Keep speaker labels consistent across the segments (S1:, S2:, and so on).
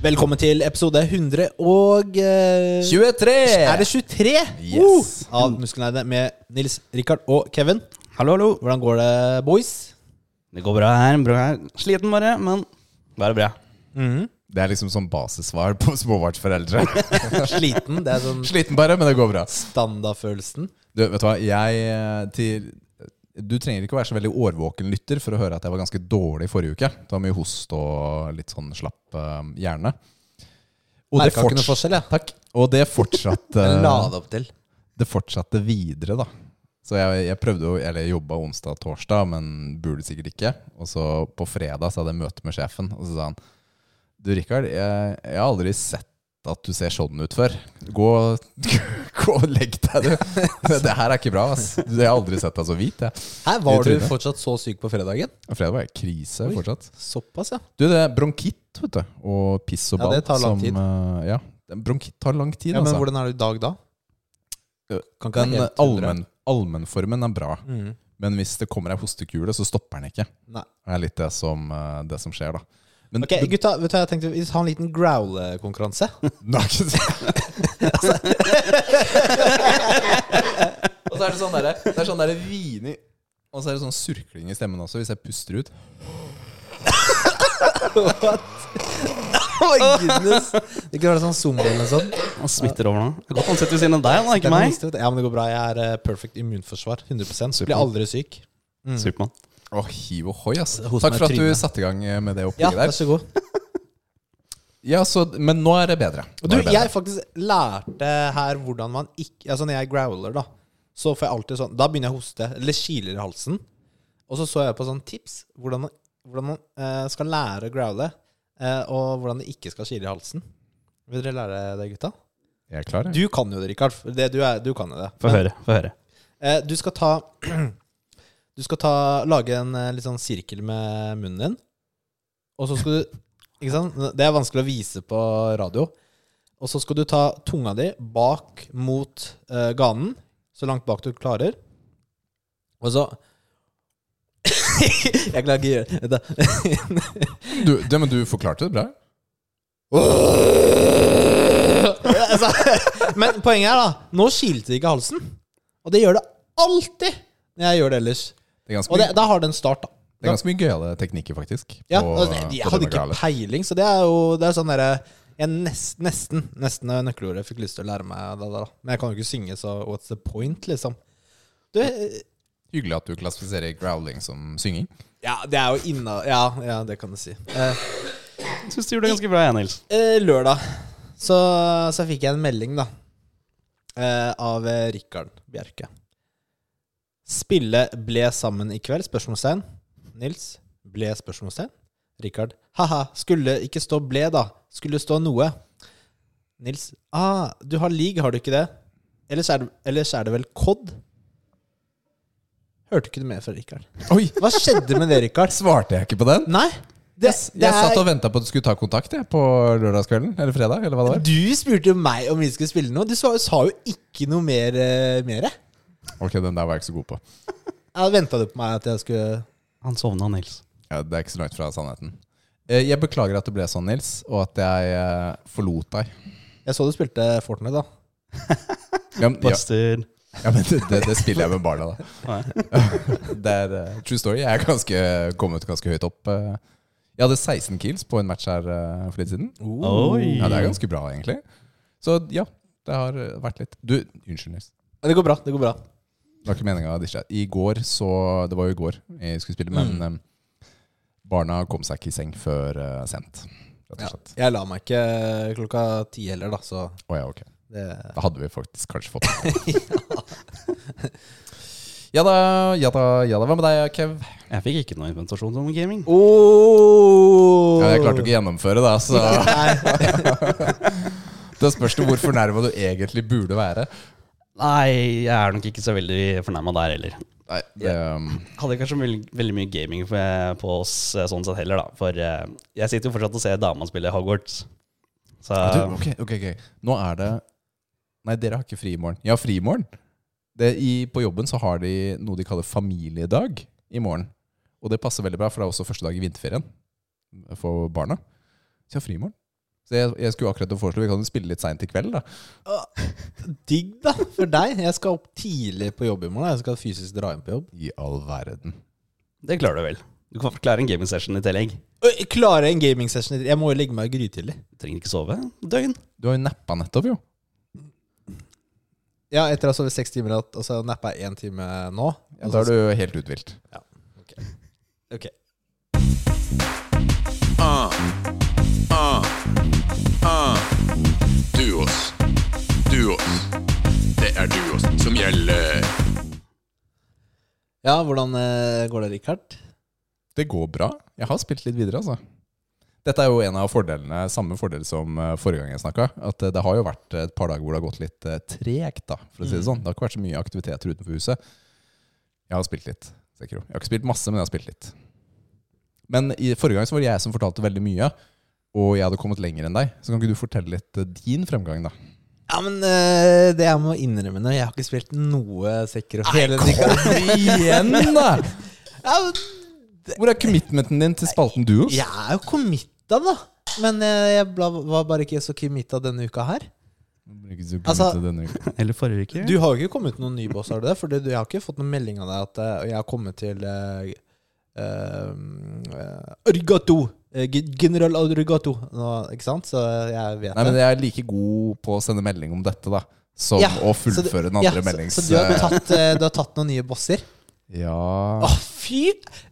S1: Velkommen til episode 100 og eh,
S2: 23!
S1: Er det 23?
S2: Yes.
S1: Uh, av Muskelnerdene med Nils, Rikard og Kevin.
S2: Hallo, hallo.
S1: Hvordan går det, boys?
S2: Det går bra her. Bra her. Sliten bare, men bare bra.
S3: Det er liksom sånn basissvar på småbarnsforeldre.
S1: Sliten. Det er sånn
S3: Sliten bare, men det går bra.
S1: standardfølelsen.
S3: Du, vet du hva, jeg eh, til, Du trenger ikke å være så veldig årvåken lytter for å høre at jeg var ganske dårlig forrige uke. Det var mye host og litt sånn slapp eh, hjerne. Og det,
S1: Merka ikke noe
S3: forts- Eh,
S1: forskjell, ja. Takk.
S3: og det fortsatte
S2: La det opp til.
S3: Det fortsatte videre, da. Så jeg, jeg prøvde å, eller jeg jobba onsdag og torsdag, men burde sikkert ikke. Og så på fredag så hadde jeg møte med sjefen, og så sa han Du, Rikard, jeg, jeg har aldri sett at du ser sånn ut før. Gå, gå og legg deg, du. Det her er ikke bra, ass. Du, Jeg har aldri sett deg så hvit, jeg.
S1: Her var du
S3: trynet.
S1: fortsatt så syk på fredagen.
S3: Og Fredag var jeg i krise
S1: Oi.
S3: fortsatt.
S1: Såpass, ja.
S3: Du, det er bronkitt, vet du. Og piss og
S1: Ja,
S3: ball.
S1: det tar lang tid.
S3: eh, ja, bronkitt tar lang tid,
S1: ja men
S3: altså.
S1: hvordan er du i dag da?
S3: Eh,
S1: Kan
S3: Den
S1: være helt
S3: allmenn- allmennformen er bra.
S1: 100. Mhm.
S3: Men hvis det kommer ei hostekule, så stopper den ikke.
S1: Nei.
S3: Det er litt det som, eh, det som skjer, da. Men
S1: Ok, gutta, vet du hva jeg tenkte? Vi har en liten growl-konkurranse.
S3: Nei, ikke sant? Og så er det sånn derre Det er sånn derre hvini Og så er det sånn surkling i stemmen også, hvis jeg puster ut.
S1: Oh, goodness. det kunne være sånn zombie eller noe sånt.
S2: Han smitter over nå. Det er godt han sitter ved siden av deg, da,
S1: Det er
S2: ikke meg.
S1: minste, vet du. Ja, men det går bra. Jeg er eh, perfect immunforsvar. 100 Blir aldri syk.
S2: Supermann.
S3: Å, hiv og hoi, ass.
S1: Hos
S3: Takk
S1: meg
S3: for at du
S1: trynet.
S3: satte i gang eh, med det
S1: Ja,
S3: opplegget
S1: vær
S3: der.
S1: så god.
S3: Ja, så, Men nå er det bedre.
S1: Og
S3: Nå
S1: du,
S3: er det bedre.
S1: jeg faktisk lærte her hvordan man ikke Altså, når jeg growler, da, så får jeg alltid sånn Da begynner jeg å hoste, eller kiler i halsen. Og så så jeg på sånn tips hvordan man, hvordan man eh, skal lære å growle, eh, og hvordan det ikke skal kile i halsen. Vil dere lære det, gutta?
S3: Jeg er klar, jeg.
S1: Du kan jo det, Rikard. for Det, du, er, du kan jo det.
S2: Få høre. Få høre.
S1: Eh, du skal ta Du skal ta, lage en eh, litt sånn sirkel med munnen din. Og så skal du Ikke sant? Det er vanskelig å vise på radio. Og så skal du ta tunga di bak mot eh, ganen, så langt bak du klarer. Og så Jeg klarer ikke å gjøre det.
S3: Du, det, men du forklarte det bra.
S1: altså, men poenget er, da Nå kilte det ikke i halsen. Og det gjør det alltid når jeg gjør det ellers.
S3: Det er ganske
S1: Og det,
S3: mye,
S1: da har det en start, da.
S3: det er ganske mye gøyale teknikker, faktisk.
S1: Ja,
S3: på-
S1: og det, jeg
S3: på
S1: hadde
S3: denne
S1: ikke
S3: gale.
S1: peiling, så det er jo det er sånn derre jeg nest, Nesten Nesten er nøkkelordet jeg fikk lyst til å lære meg. Det, der, da. Men jeg kan jo ikke synge, så what's the point, liksom? Du, eh,
S3: Hyggelig at du klassifiserer growling som synging.
S1: ja, det er jo inna... Ja, ja, det kan du si. Eh,
S2: Jeg syns du gjorde det ganske bra, jeg, Nils.
S1: eh, lørdag så, så fikk jeg en melding, da, eh, av eh, Rikard Bjerke. Spille ble sammen i kveld? Spørsmålstegn. Nils ble? Spørsmålstegn. Rikard. Haha, skulle ikke stå ble, da. Skulle stå noe. Nils. Ah, du har league, har du ikke det? Ellers er det, ellers er det vel COD? Hørte ikke du mer fra Rikard?
S3: Oi,
S1: Hva skjedde med det, Rikard?
S3: svarte jeg ikke på den?
S1: Nei.
S3: Jeg,
S1: Det, det
S3: jeg satt
S1: er,
S3: og venta på at du skulle ta kontakt jeg, på lørdagskvelden. Eller fredag, eller hva det var.
S1: du spurte jo meg om vi skulle spille noe. Du sa, sa jo ikke noe mer. eh, mere.
S3: Ok, den der var jeg ikke så god på.
S1: Venta du på meg at jeg skulle
S2: Han sovna, Nils.
S3: Ja, det er ikke så langt fra sannheten. Eh, Jeg beklager at det ble sånn, Nils, og at jeg eh, forlot deg.
S1: Jeg så du spilte Fortnite, da.
S3: Ja, men- ja,
S2: Bastard.
S3: ja, men det, det, det spiller jeg med barna, da.
S2: Nei.
S3: Det er eh, true story. Jeg er ganske, kommet ganske høyt opp. eh. Jeg hadde 16 kills på en match her eh, for litt siden.
S2: Oi.
S3: Ja, det er ganske bra, egentlig. Så ja, det har eh, vært litt Du, unnskyld, Nils.
S1: Men Det går bra. det går bra
S3: Det var ikke meninga å dishe. I går så Det var jo i går jeg skulle spille, men em, barna kom seg ikke i seng før eh, sent. Rett og slett.
S1: Jeg la meg ikke eh, klokka ti heller, da, så
S3: Å ja, ok.
S1: det
S3: Da hadde vi faktisk kanskje fått det. ja da, ja da, ja da. Hva med deg, Kev?
S2: Jeg fikk ikke noe invitasjon som gaming.
S1: oh.
S3: Ja, jeg klarte jo ikke å gjennomføre, da, så
S1: Nei,
S3: det spørs det hvor fornærma du egentlig burde være.
S2: Nei, jeg er nok ikke så veldig fornærma der heller.
S3: Nei, det, um, em,
S2: Hadde kanskje veldig, veldig mye gaming for, på oss eh, sånn sett heller, da. For eh, jeg sitter jo fortsatt og ser dama spille Hogwarts. Så
S3: du, ok, ok, ok. Nå er det Nei, dere har ikke fri i morgen. Ja, fri i morgen. Det, i, på jobben så har de noe de kaller familiedag i morgen. Og det passer veldig bra, for det er også første dag i vinterferien for barna. Så jeg har fri i morgen. Så jeg, jeg skulle akkurat til å foreslå vi kan jo spille litt seint i kveld, da.
S1: Digg, da, for deg. Jeg skal opp tidlig på jobb i morgen. Jeg skal fysisk dra inn på jobb.
S3: I all verden.
S2: Det klarer du vel. Du kan klare en gaming session i tillegg.
S1: Øy, Klarer jeg en gaming-session? i- Jeg må jo legge meg grytidlig.
S2: Du trenger ikke sove døgn.
S3: Du har jo nappa nettopp, jo.
S1: Ja, etter å ha sovet seks timer og så nappa én time nå.
S3: Ja, da er du helt uthvilt.
S1: Altså- Ok.
S4: Ah, Duos. Duos. Det er duos som gjelder.
S1: Ja, hvordan eh, går det, Richard?
S3: Det går bra. Jeg har spilt litt videre, altså. Dette er jo en av fordelene, samme fordel som eh, forrige gang jeg snakka. At eh, det har jo vært et par dager hvor det har gått litt eh, tregt, da, for å si det sånn. Det har ikke vært så mye aktiviteter utenfor huset. Jeg har spilt litt. Sekiro. Jeg har ikke spilt masse, men jeg har spilt litt. Men i forrige gang så var det jeg som fortalte veldig mye, og jeg hadde kommet lenger enn deg. Så kan ikke du fortelle litt eh, din fremgang, da?
S1: Ja, men eh, det jeg må innrømme nå, jeg har ikke spilt noe Sekiro hele tida.
S3: Igjen, da!
S1: Ja, men
S3: Hvor er commitmenten din til spalten Duos?
S1: jeg er jo committa, da. Men eh, jeg bla, var bare ikke så committa denne uka her. Altså-
S2: Eller
S3: Mm.
S2: forrige uke.
S1: Du har jo ikke kommet noen ny boss, har du det? For det- jeg har ikke fått noen melding av deg at eh, jeg har kommet til eh, eh, Arigato! Eh, gen- General Arigato! Nå, ikke sant? Så eh, jeg vet
S3: Nei, men
S1: det.
S3: jeg er like god på å sende melding om dette, da. Som
S1: Ja,
S3: å
S1: så det-
S3: fullføre den andre
S1: ja, så-
S3: meldings...
S1: Så, du, har tatt, eh, du har tatt noen nye bosser? Å,
S3: Ja
S1: fy!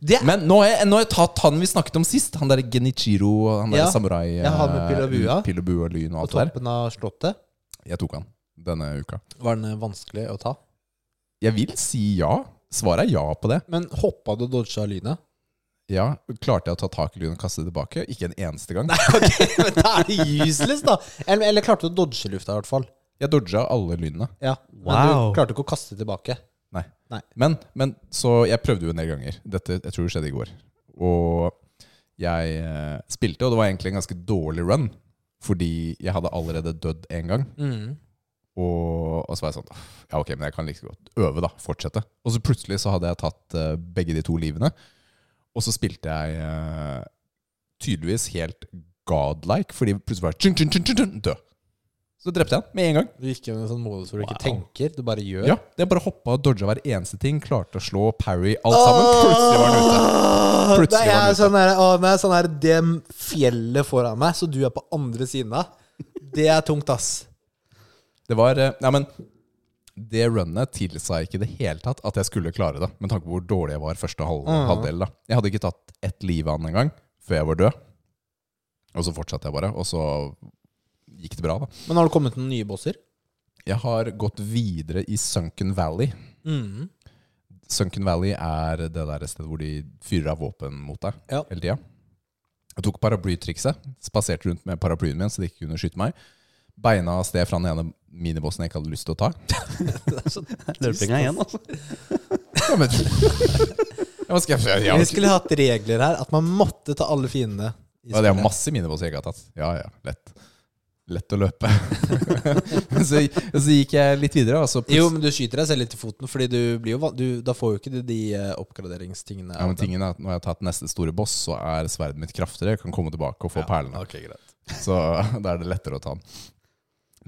S1: Det
S3: Men nå har, jeg, nå har jeg tatt han vi snakket om sist. Han der Genichiro, han der
S1: Ja.
S3: samurai
S1: Ja, han med pil og bua.
S3: eh, pil og bue og lyn og
S1: på
S3: alt det der.
S1: toppen av slottet.
S3: Jeg tok han denne uka.
S1: Var den vanskelig å ta?
S3: Jeg vil si ja. Svaret er ja på det.
S1: Men hoppa du og dodga lynet?
S3: Ja, Klarte jeg å ta tak i lynet og kaste det tilbake? Ikke en eneste gang.
S1: Men da er det useless, da! Eller, eller klarte du å dodge lufta, i hvert fall.
S3: Jeg dodga alle lynene.
S1: Ja. Men
S2: Wow.
S1: du klarte ikke å kaste tilbake.
S3: Nei.
S1: Nei.
S3: Men, men så jeg prøvde jo en del ganger. Dette jeg tror det skjedde i går. Og jeg eh, spilte, og det var egentlig en ganske dårlig run. Fordi jeg hadde allerede dødd én gang.
S1: Mm.
S3: Og, og så var jeg sånn «Åh, Ja, ok, men jeg kan like godt øve, da. Fortsette. Og så plutselig så hadde jeg tatt eh, begge de to livene. Og så spilte jeg eh, tydeligvis helt godlike, fordi plutselig var jeg tjun, tjun, tjun, tjun, tjun, død. Så drepte jeg han med en gang.
S1: Du gikk inn i en sånn modus hvor du ikke
S3: Wow.
S1: tenker, du bare gjør.
S3: Ja, jeg bare hoppa og dodga hver eneste ting. Klarte å slå parry alt sammen. Plutselig var den ute.
S1: Nei, jeg
S3: Plutselig var
S1: er
S3: den ute.
S1: sånn her, å, men jeg er sånn her, det fjellet foran meg, så du er på andre siden av. Det er tungt, ass.
S3: Det var eh, Nei, men det runnet tilsa ikke i det hele tatt at jeg skulle klare det, med tanke på hvor dårlig jeg var første halv,
S1: Ah.
S3: halvdel. da Jeg hadde ikke tatt ett liv av han engang før jeg var død. Og så fortsatte jeg bare, og så gikk det bra, da.
S1: Men har du kommet noen nye bosser?
S3: Jeg har gått videre i Sunken Valley.
S1: Mm.
S3: Sunken Valley er det der stedet hvor de fyrer av våpen mot deg
S1: Ja.
S3: hele tida. Jeg tok paraplytrikset, spaserte rundt med paraplyen min så de ikke kunne skyte meg. Beina av sted fra den ene minibossen jeg ikke hadde lyst til å ta.
S2: altså, Løpinga igjen, altså.
S3: Ja, men, ja, men skal jeg, ja,
S1: Vi skulle hatt regler her, at man måtte ta alle fiendene. i
S3: ja, det er
S1: spillet.
S3: masse minibosser jeg ikke har tatt. Ja, ja, lett. Lett å løpe. så, så gikk jeg litt videre, og så plutselig
S1: Jo, men du skyter deg selv litt i foten, Fordi du blir jo van- du, da får jo ikke du de eh, oppgraderingstingene.
S3: ja, men tingen er at Når jeg har tatt neste store boss, så er sverdet mitt kraftigere. Jeg kan komme tilbake og få perlene.
S1: Ok, greit.
S3: Så da er det lettere å ta den.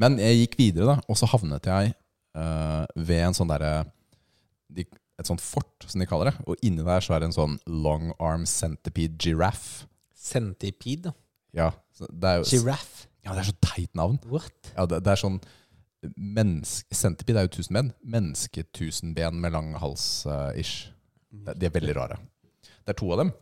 S3: Men jeg gikk videre, da, og så havnet jeg eh, ved en sånn derre de- Et sånt fort, som de kaller det. Og inni der så er det en sånn long arm centipede giraffe.
S1: Centipede?
S3: Ja, så det er jo
S1: Giraffe?
S3: ja, det er så teit navn.
S1: What?
S3: Ja, det, det er sånn menneske, Centipede er jo tusen ben. Mennesketusenben med lang hals-ish. de er veldig rare. Det er to av dem.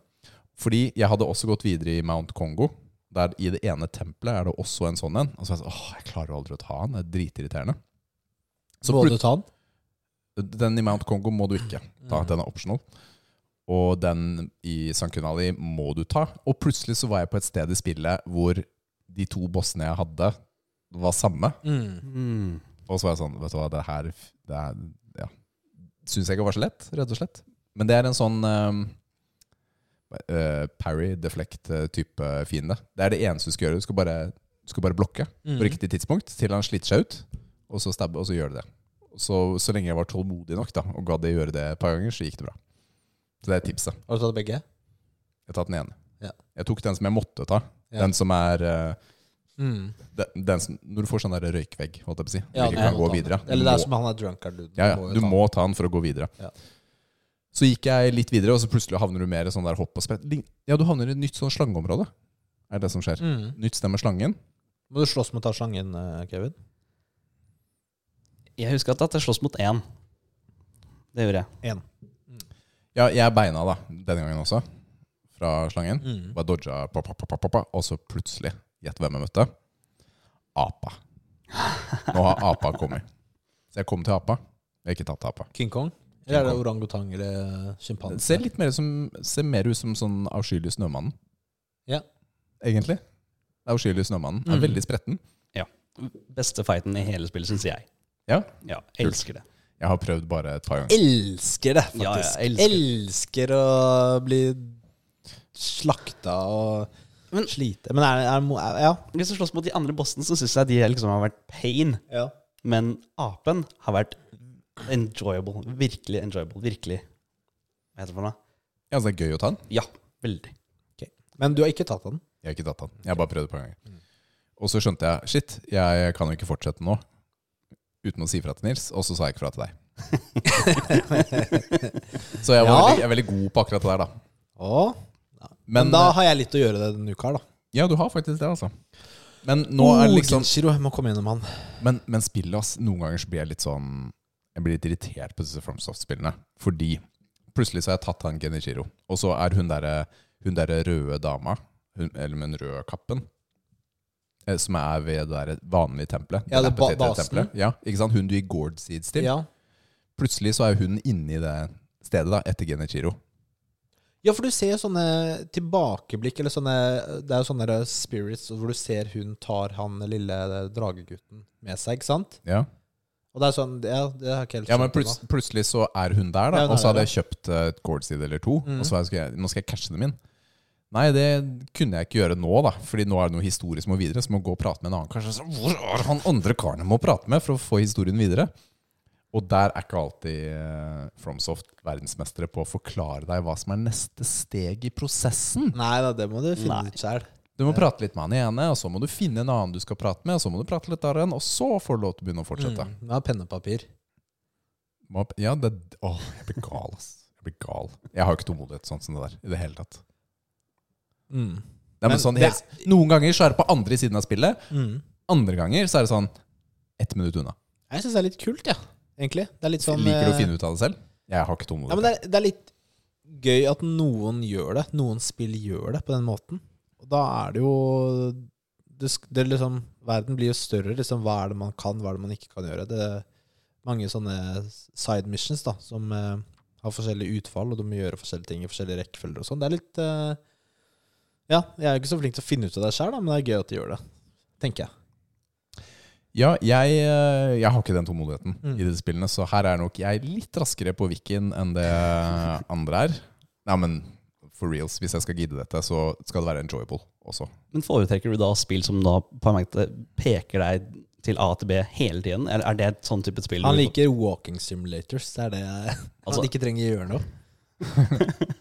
S3: Fordi jeg hadde også gått videre i Mount Kongo. Der I det ene tempelet er det også en sånn en. Og så er jeg sånn, åh, jeg klarer aldri å ta han. Det er dritirriterende. Så
S1: Må du ta den?
S3: den i Mount Kongo må du ikke ta.
S1: Mm.
S3: Den er optional. Og den i Sankt Kunali må du ta. Og plutselig så var jeg på et sted i spillet hvor de to bossene jeg hadde, var samme.
S1: Mm.
S2: Mm.
S3: Og så var jeg sånn Vet du hva, det her det er, ja. Syns jeg ikke var så lett, rett og slett. Men det er en sånn eh, eh, parry, deflect-type fiende. Det er det eneste du skal gjøre. Du skal bare, du skal bare blokke
S1: Mhm.
S3: på riktig tidspunkt til han sliter seg ut, og så stabbe, og så gjør du det. Og Så, så lenge jeg var tålmodig nok da, og gadd å gjøre det et par ganger, så gikk det bra. Så det er tipset.
S1: Mm. Har du tatt begge?
S3: Jeg har tatt den ene.
S1: Ja.
S3: Jeg tok den som jeg måtte ta.
S1: Ja.
S3: Den som er eh,
S1: Mm.
S3: Den, den som, når du får sånn der røykvegg, holdt jeg på å si,
S1: Ja,
S3: du
S1: du
S3: ikke kan
S1: må
S3: gå
S1: ta den.
S3: videre. Du
S1: Eller det
S3: må-
S1: er som han er drunkard.
S3: Ja, ja. Du må ta den for å gå videre.
S1: Ja.
S3: Så gikk jeg litt videre, og så plutselig havner du mer i sånn der hopp og sprett. Lign- Ja, du havner i et nytt sånn slangeområde. Er det som skjer.
S1: Mm.
S3: Nytt sted med slangen.
S1: Må du slåss mot å ta slangen, eh, Kevin?
S2: Jeg husker at jeg sloss mot én. Det gjorde jeg.
S1: Én.
S3: Ja, jeg beina da, denne gangen også, fra slangen.
S1: Mm.
S3: Bare dodga, pa, pa, pa, pa, pa, pa. og så plutselig, gjett hvem jeg møtte? Apa. Nå har apa kommet. Så jeg kom til apa. Jeg har ikke tatt apa.
S1: King Kong? Eller er det orangutang eller
S3: Det
S1: sjimpanse?
S3: ser litt mer, som, ser mer ut som sånn avskyelig snømannen.
S1: Ja.
S3: Egentlig. Det er avskyelig snømannen. Er
S1: Mm.
S3: veldig spretten.
S2: Beste fighten i hele spillet, syns jeg.
S3: Ja.
S2: Ja, elsker det.
S3: Jeg har prøvd bare et par ganger.
S1: Elsker det, faktisk.
S2: Ja, ja,
S1: elsker.
S2: elsker.
S1: å bli slakta og
S2: Men-
S1: slite. Men er det er, mo- er, Ja.
S2: Hvis du slåss mot de andre bossene, så syns jeg de liksom har vært pain.
S1: ja.
S2: Men apen har vært enjoyable. Virkelig enjoyable. Virkelig. Hva heter det for noe?
S3: Ja, så det er gøy å ta den.
S2: Ja, veldig.
S1: Ok. Men du har ikke tatt den?
S3: Jeg har ikke tatt den. Jeg har bare prøvd et par ganger.
S1: Mm.
S3: Og så skjønte jeg shit, jeg kan jo ikke fortsette nå uten å si fra til Nils. Og så sa jeg ikke fra til deg. så jeg, var
S1: Ja.
S3: veldig, jeg er veldig god på akkurat det der, da.
S1: Å? Men,
S3: Men,
S1: da har jeg litt å gjøre denne uka her, da.
S3: Ja, du har faktisk det, altså. Men nå er det liksom
S1: Gensiro, Oh, jeg må komme gjennom han.
S3: Men, men spillet, ass, noen ganger så blir jeg litt sånn Jeg blir litt irritert på disse FromSoft-spillene. Fordi plutselig så har jeg tatt han Genichiro, og så er hun derre hun der røde dama, hun, eller med den røde kappen, eh, som er ved det der vanlige tempelet.
S1: Ja, det ba-
S3: lappetetete
S1: basen.
S3: tempelet. Ja, ikke sant? Hun du gir gourd seeds til.
S1: Ja.
S3: Plutselig så er hun inne i det stedet da, etter Genichiro.
S1: ja, for du ser jo sånne tilbakeblikk, eller sånne Det er jo sånne der spirits hvor du ser hun tar han lille dragegutten med seg, ikke sant?
S3: Ja,
S1: Og det er sånn Ja, det har jeg ikke helt
S3: ja men
S1: skjønt ennå.
S3: plutselig, plutselig så er hun der,
S1: Ja,
S3: da.
S1: hun er Mm.
S3: Og så
S1: der,
S3: hadde jeg kjøpt eh, et gourd seed eller to, og så var jeg- skulle jeg, nå skal jeg cashe dem inn. Nei, det kunne jeg ikke gjøre nå, da. Fordi nå er det noe historie som må videre. Så må jeg gå og prate med en annen. Kanskje så, Hvor er han andre karen jeg må prate med for å få historien videre? Og der er ikke alltid eh, FromSoft verdensmestere på å forklare deg hva som er neste steg i prosessen.
S1: Nei da, det må du finne
S2: Nei.
S1: ut sjæl.
S3: Du må prate litt med han ene, og så må du finne en annen du skal prate med, og så må du prate litt der igjen, og så får du lov til å begynne å fortsette.
S1: Mm. Ja, pennepapir.
S3: Må opp- Ja, det Åh, jeg blir gal, ass. Jeg blir gal. Jeg har jo ikke tålmodighet sånn som det der i det hele tatt.
S1: Mm.
S3: Nei, men,
S1: Men
S3: sånn,
S1: det-
S3: helt- noen ganger så er det på andre siden av spillet,
S1: Mm.
S3: andre ganger så er det sånn ett minutt unna.
S1: Jeg syns det er litt kult, ja. Egentlig. Det er litt sånn
S3: Liker du å finne ut av det selv? Jeg har ikke
S1: Ja,
S3: tålmodighet.
S1: men det er, det er litt gøy at noen gjør det. Noen spill gjør det på den måten. Og da er det jo det, sk- det er liksom, Verden blir jo større. Liksom, hva er det man kan, hva er det man ikke kan gjøre? Det er mange sånne side missions da, som eh, har forskjellige utfall, og du må gjøre forskjellige ting i forskjellige rekkefølger og sånn. Det er litt eh, Ja, jeg er jo ikke så flink til å finne ut av det sjøl, men det er gøy at de gjør det. Tenker jeg.
S3: Ja, jeg, eh, jeg har ikke den tålmodigheten
S1: Mm.
S3: i de spillene, så her er nok jeg litt raskere på Wikin enn det andre er. Nei, men for reals, hvis jeg skal gidde dette, så skal det være enjoyable også.
S2: Men foretrekker du da spill som da på en måte peker deg til A til B hele tiden? Er, er det et sånn type spill?
S1: Han
S2: du-
S1: liker walking simulators. Det er det
S2: Altså-
S1: han ikke trenger å gjøre noe.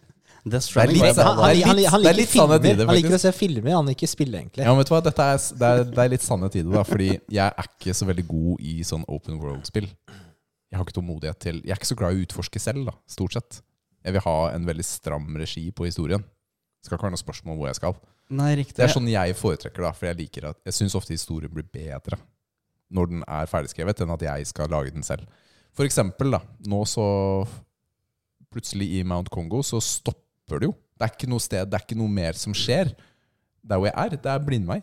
S2: Death Stranding
S3: Det er
S2: var
S3: litt
S2: jo bra,
S3: sånn-
S1: Han,
S2: da.
S1: han, han,
S3: litt-
S1: han,
S3: det er
S1: liker
S3: litt sannhet
S1: filmer.
S3: i det,
S1: han liker
S3: faktisk.
S1: å se filmer, han liker spille, egentlig.
S3: Ja, men vet du hva, dette er, s- det er, det er litt sannhet i det, da, fordi jeg er ikke så veldig god i sånn open world-spill. Jeg har ikke tålmodighet til Jeg er ikke så glad i å utforske selv, da, stort sett. Jeg vil ha en veldig stram regi på historien. Det skal ikke være noe spørsmål om hvor jeg skal.
S2: Nei, riktig.
S3: Det er sånn jeg foretrekker, da, for jeg liker at Jeg syns ofte historien blir bedre når den er ferdigskrevet, enn at jeg skal lage den selv. For eksempel, da. Nå så Plutselig i Mount Kongo så stopper det jo. Det er ikke noe sted, det er ikke noe mer som skjer. Der hvor jeg er, det er blindvei.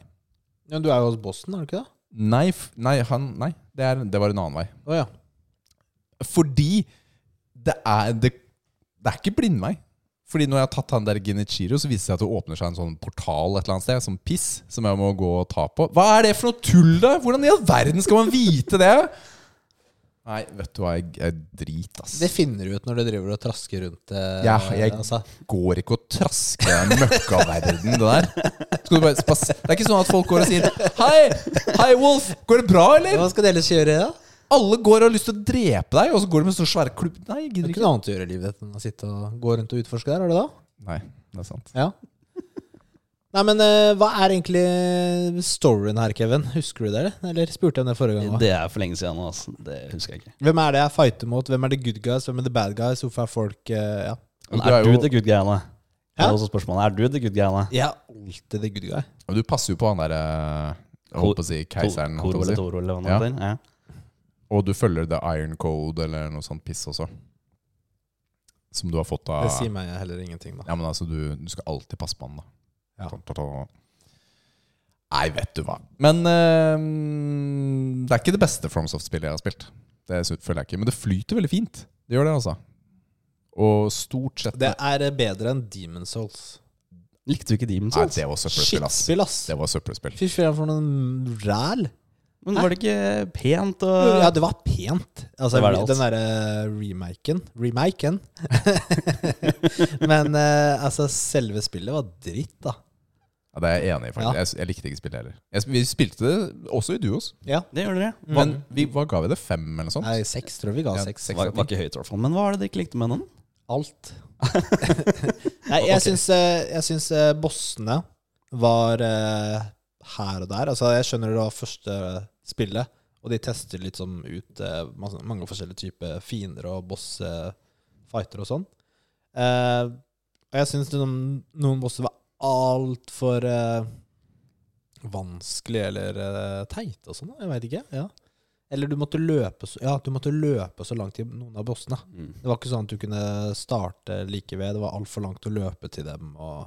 S1: Ja, du er jo hos bossen, er du ikke det?
S3: Nei, f nei, han, nei det, er, det var en annen vei.
S1: Å ja.
S3: Fordi det er, det, det er ikke blindvei. Fordi når jeg har tatt han der Genichiro, så viser det seg at det åpner seg en sånn portal et eller annet sted, sånn piss, som jeg må gå og ta på. Hva er det for noe tull, da?! Hvordan i all verden skal man vite det?! Nei, vet du hva, jeg, jeg drit, ass.
S1: Det finner du ut når du driver og trasker rundt. Eh,
S3: Ja, jeg-
S1: altså.
S3: går ikke å traske den møkkaverden, det der. Skal du bare spas det er ikke sånn at folk går og sier 'Hei, hei, Wolf, går det bra,
S1: Ja,
S3: eller?'
S1: Hva skal dere ellers gjøre, da?
S3: Alle går og har lyst til å drepe deg, og så går de med så svære klubb... Nei,
S1: Det
S3: jeg gidder
S1: er
S3: ikke.
S1: ikke noe annet å gjøre i livet ditt enn å sitte og gå rundt og utforske der, er det da?
S3: Nei, det er sant.
S1: Ja. Nei, men eh, hva er egentlig storyen her, Kevin? Husker du det, eller? Eller spurte jeg om det forrige gang? også?
S2: Det er for lenge siden nå, altså. Det husker jeg ikke.
S1: Hvem er det jeg fighter mot? Hvem er the good guys? Hvem er the bad guys? Hvorfor er folk eh, ja.
S2: Men
S3: Du er
S2: er du
S3: jo-
S2: the good greiene? Det
S1: Hæ?
S2: er også spørsmålet. Er du the good greiene?
S1: Jeg er alltid the good guy.
S3: Men Du passer jo på han derre Jeg holdt på å si keiseren. holdt
S2: Koro
S3: jeg på å
S2: eller
S3: si.
S2: Toro eller hva
S3: Ja.
S2: det heter. Ja.
S3: Og du følger The Iron Code eller noe sånt piss også. Som du har fått av
S1: Det sier meg heller ingenting, da.
S3: Ja, men altså, du, du skal alltid passe på han, da.
S1: Ja.
S3: Ta, ta, ta. Nei, vet du hva. Men eh, det er ikke det beste FromSoft-spillet jeg har spilt. Det sy- føler jeg ikke. Men det flyter veldig fint. Det gjør det, altså. Og stort sett
S1: Det er eh, bedre enn Demon Souls.
S2: Likte du ikke Demon's
S3: Nei,
S2: Souls?
S3: det var søppelspill, ass.
S1: Shitspill, ass.
S3: Det var søppelspill.
S1: Fy faen, for noen ræl.
S2: Men var det ikke pent og
S1: Ja, det var pent. Altså,
S2: Det var det alt.
S1: den derre remaken Remaken. Men eh, altså, selve spillet var dritt, da.
S3: Ja, det er jeg enig i, faktisk.
S1: Ja.
S3: Jeg, s- jeg likte ikke spillet heller. Jeg, sp- vi spilte det også i duos.
S1: Ja.
S2: Det gjør dere. Mm.
S3: Men vi, hva ga vi det? Fem, eller noe sånt?
S1: Nei, seks, tror jeg vi ga
S3: Ja,
S1: seks.
S3: seks.
S2: var, var ikke høyt, i hvert fall. Men hva er det dere ikke likte med den?
S1: Alt. Nei, jeg syns, eh, jeg syns eh, bossene var eh, her og der. Altså, jeg skjønner det var første spillet, og de tester litt sånn ut eh, mas- mange forskjellige typer fiender og boss-fighter og sånn. Eh, og jeg syns noen, noen bosser var altfor uh, vanskelig eller eh, teite og sånn. Jeg veit ikke. Ja. Eller du måtte, løpe så, ja, du måtte løpe så langt til noen av bossene.
S3: Mm.
S1: Det var ikke sånn at du kunne starte like ved. Det var altfor langt å løpe til dem. Og...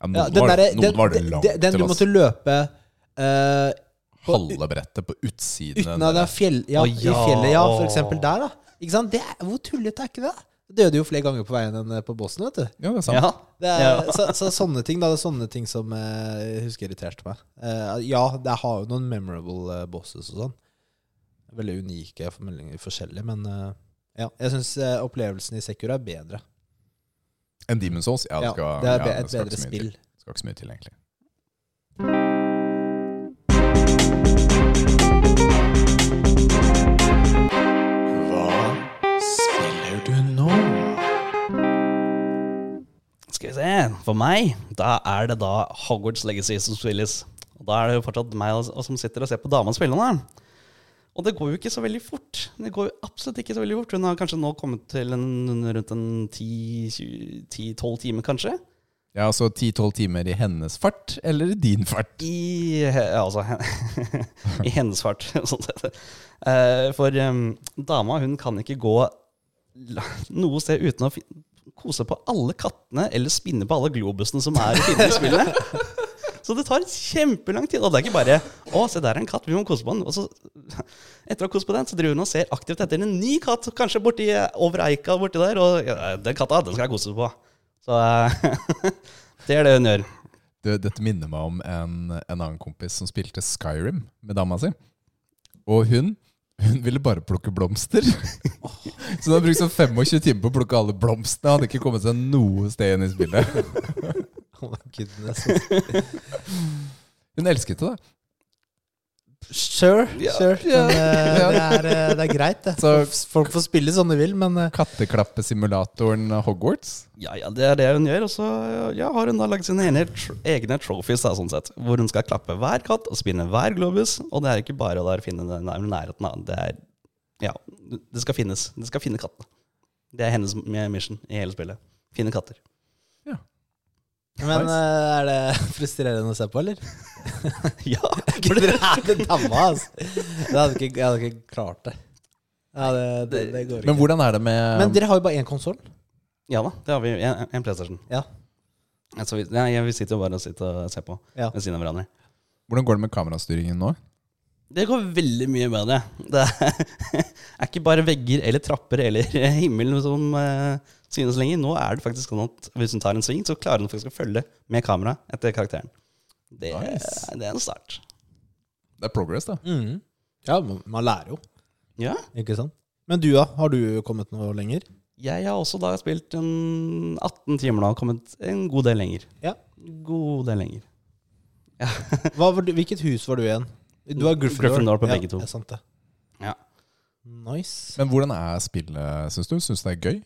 S3: Ja, noen
S1: Ja, den
S3: var,
S1: derre-
S3: noen
S1: den-
S3: var det
S1: den-
S3: langt
S1: den, den
S3: til,
S1: du
S3: ass.
S1: måtte løpe eh, på-
S3: Halve brettet på utsiden.
S1: uten av det fjell, ja,
S2: Å,
S1: i
S2: ja.
S1: fjellet, ja, for eksempel der, da. Ikke sant? Det er, hvor tullete er ikke det? Det døde jo flere ganger på veien enn eh, på bossen, vet du.
S3: Ja, det er sant.
S2: Ja.
S1: Det er,
S2: Ja.
S1: så, så sånne ting da, det er sånne ting som eh, jeg husker irriterte meg. Eh, ja, det har jo noen memorable eh, bosses og sånn. Veldig unike, formel- forskjellige, men eh, ja. Jeg syns opplevelsen i Sekura er bedre.
S3: En Demon's Souls? Ja, det,
S1: Ja,
S3: skal,
S1: det er
S3: ja,
S1: be- et
S3: skal ikke
S1: bedre
S3: så mye
S1: spill.
S3: til. Skal ikke så mye til, egentlig.
S4: Hva spiller du nå?
S2: Skal vi se. For meg, da er det da Hogwarts Legacy som spilles. Og da er det jo fortsatt meg og- og som sitter og ser på dama spille nå. Og det går jo ikke så veldig fort. Det går jo absolutt ikke så veldig fort. Hun har kanskje nå kommet til en, rundt en 10-12 timer, kanskje.
S3: Ja, altså 10-12 timer i hennes fart, eller i din fart?
S2: I, ja, altså, i hennes fart, sånn sett. Eh, For em, dama, hun kan ikke gå la- noe sted uten å fi- kose på alle kattene eller spinne på alle globusene som er i filmspillene. Så det tar kjempelang tid. Og det er ikke bare 'Å, se der er en katt, vi må kose på den'. Og så, etter å ha kost på den, så driver hun og ser aktivt etter en ny katt, kanskje borti eh, over eika borti der. Og ja, 'Den katta, den skal jeg kose på'. Så eh, det er det hun gjør.
S3: Du, dette minner meg om en, en annen kompis som spilte Skyrim med dama si. Og hun hun ville bare plukke blomster. Så hun har brukt sånn 25 timer på å plukke alle blomstene. Hadde ikke kommet seg noe sted inn i spillet.
S1: Oh my goodness.
S3: Hun elsket det, da.
S1: Sure,
S2: Ja.
S1: sure.
S3: Ja.
S1: Men eh,
S3: Ja.
S1: det, er, eh, det er greit, det.
S3: Så-
S1: F- Folk får spille som de vil, men eh,
S3: Katteklappesimulatoren Hogwarts.
S2: Ja, ja, det er det hun gjør. Og så ja, har hun da lagd sine egne, tr- egne trophies, da, sånn sett, hvor hun skal klappe hver katt og spinne hver globus. Og det er ikke bare å da finne den nær- nærheten. da. Det er Ja, det skal finnes. Det skal finne kattene. Det er hennes m- mission i hele spillet. Finne katter.
S1: men
S3: Nice.
S1: eh, er det frustrerende å se på, eller?
S2: Ja!
S1: For dere er det damma, altså. Jeg hadde ikke, jeg hadde ikke klart det. Ja, det, det, det går ikke.
S3: Men
S1: Men,
S3: hvordan er det med
S1: dere har jo bare én konsoll.
S2: Ja da, det har vi. En, en PlayStation.
S1: Ja.
S2: Altså, vi, nei, vi sitter jo bare og, sitter og ser på
S1: Ja.
S2: ved siden av hverandre.
S3: Hvordan går det med kamerastyringen nå?
S2: Det går veldig mye bedre. Det er, er ikke bare vegger eller trapper eller himmel som eh, synes lenger. Nå er det faktisk sånn at hvis hun tar en sving, så klarer hun faktisk å følge med kamera etter karakteren. Det,
S3: Nice.
S2: det er en start.
S3: Det er progress, da.
S1: Mm. Ja, men man lærer jo,
S2: Ja.
S1: ikke sant? Men du, da? Har du kommet noe lenger?
S2: Jeg har også da spilt en 18 timer nå og kommet en god del lenger.
S1: Ja.
S2: God del lenger.
S1: Hva var du, hvilket hus var du igjen? Du var Gryffindor.
S2: Gryffindor på begge to.
S1: Ja, det er sant det.
S2: Ja.
S1: Nice.
S3: Men hvordan er spillet, syns du? Syns du det er gøy?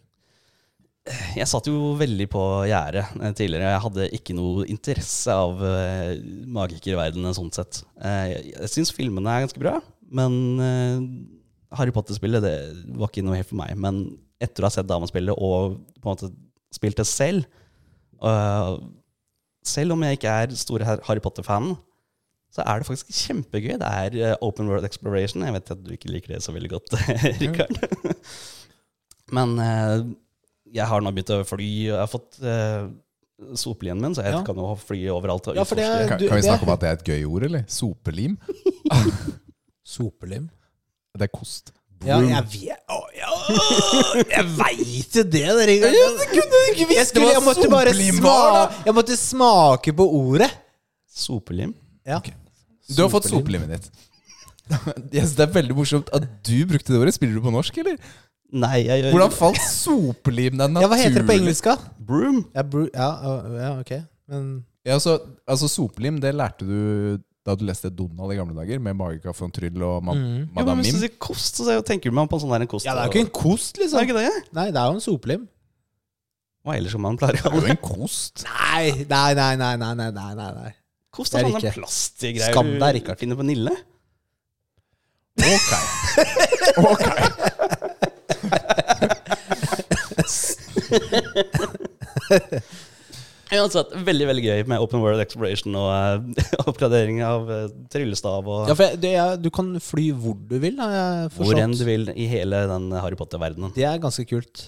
S2: Jeg satt jo veldig på gjerdet eh, tidligere. Jeg hadde ikke noe interesse av eh, magikerverdenen sånn sett. Eh, jeg jeg syns filmene er ganske bra, men eh, Harry Potter-spillet det var ikke noe helt for meg. Men etter å ha sett damespillet og på en måte spilt det selv eh, Selv om jeg ikke er stor Har- Harry Potter-fan, så er det faktisk kjempegøy. Det er eh, open world exploration. Jeg vet at du ikke liker det så veldig godt, Rikard. Men eh, jeg har nå begynt å fly. Jeg har fått uh, sopelien min, så jeg
S1: Ja.
S2: kan jo fly overalt. Og
S1: Ja, for det er-
S2: utforske.
S3: Kan,
S1: Du,
S3: kan vi
S1: det-
S3: snakke om at det er et gøy ord, eller? Sopelim?
S1: Sopelim.
S3: Det er kost.
S1: Ja, jeg vet Å, ja, å, Jeg veit jo det, dere. Jeg kunne ikke visst
S3: hva
S1: Jeg måtte bare
S3: sopelim var,
S1: smake, jeg måtte smake på ordet.
S2: Sopelim.
S1: Ja.
S3: Du har fått sopelimet ditt. Jeg synes Det er veldig morsomt at du brukte det ordet. Spiller du på norsk, eller?
S2: Nei, jeg gjør
S3: Hvordan falt sopelim deg naturlig?
S1: Ja, hva heter det på engelsk, da?
S2: Broom.
S1: Ja, bru- ja, å, ja, ok. Men
S3: Ja, så, altså Sopelim, det lærte du da du leste Donald i gamle dager, med Magica von Tryll og ma
S2: Ja, men
S3: Madame
S2: hvis du
S3: Mim.
S2: sier kost, så tenker du meg på en sånn der en kost.
S1: Ja, det er jo ikke en kost,
S2: Det er
S1: liksom.
S2: ikke det?
S1: Nei, det er jo en sopelim.
S2: Hva ellers om man pleier å
S3: Det er
S2: kalle
S3: jo
S2: det?
S3: en kost.
S1: Nei, nei, nei, nei, nei, nei, nei, nei, nei.
S2: Kost
S1: det er
S2: er sånne
S1: ikke.
S2: plastgreier
S1: Skam deg,
S2: du
S1: Rikard.
S2: finner på Nille.
S3: Ok. Ok.
S2: Uansett, veldig veldig gøy med Open World Exploration og eh, oppgradering av eh, tryllestav og
S1: Ja, for jeg- det er, Du kan fly hvor du vil, har jeg
S2: hvor enn
S1: forstått.
S2: du vil i hele den Harry Potter-verdenen.
S1: Det er ganske kult.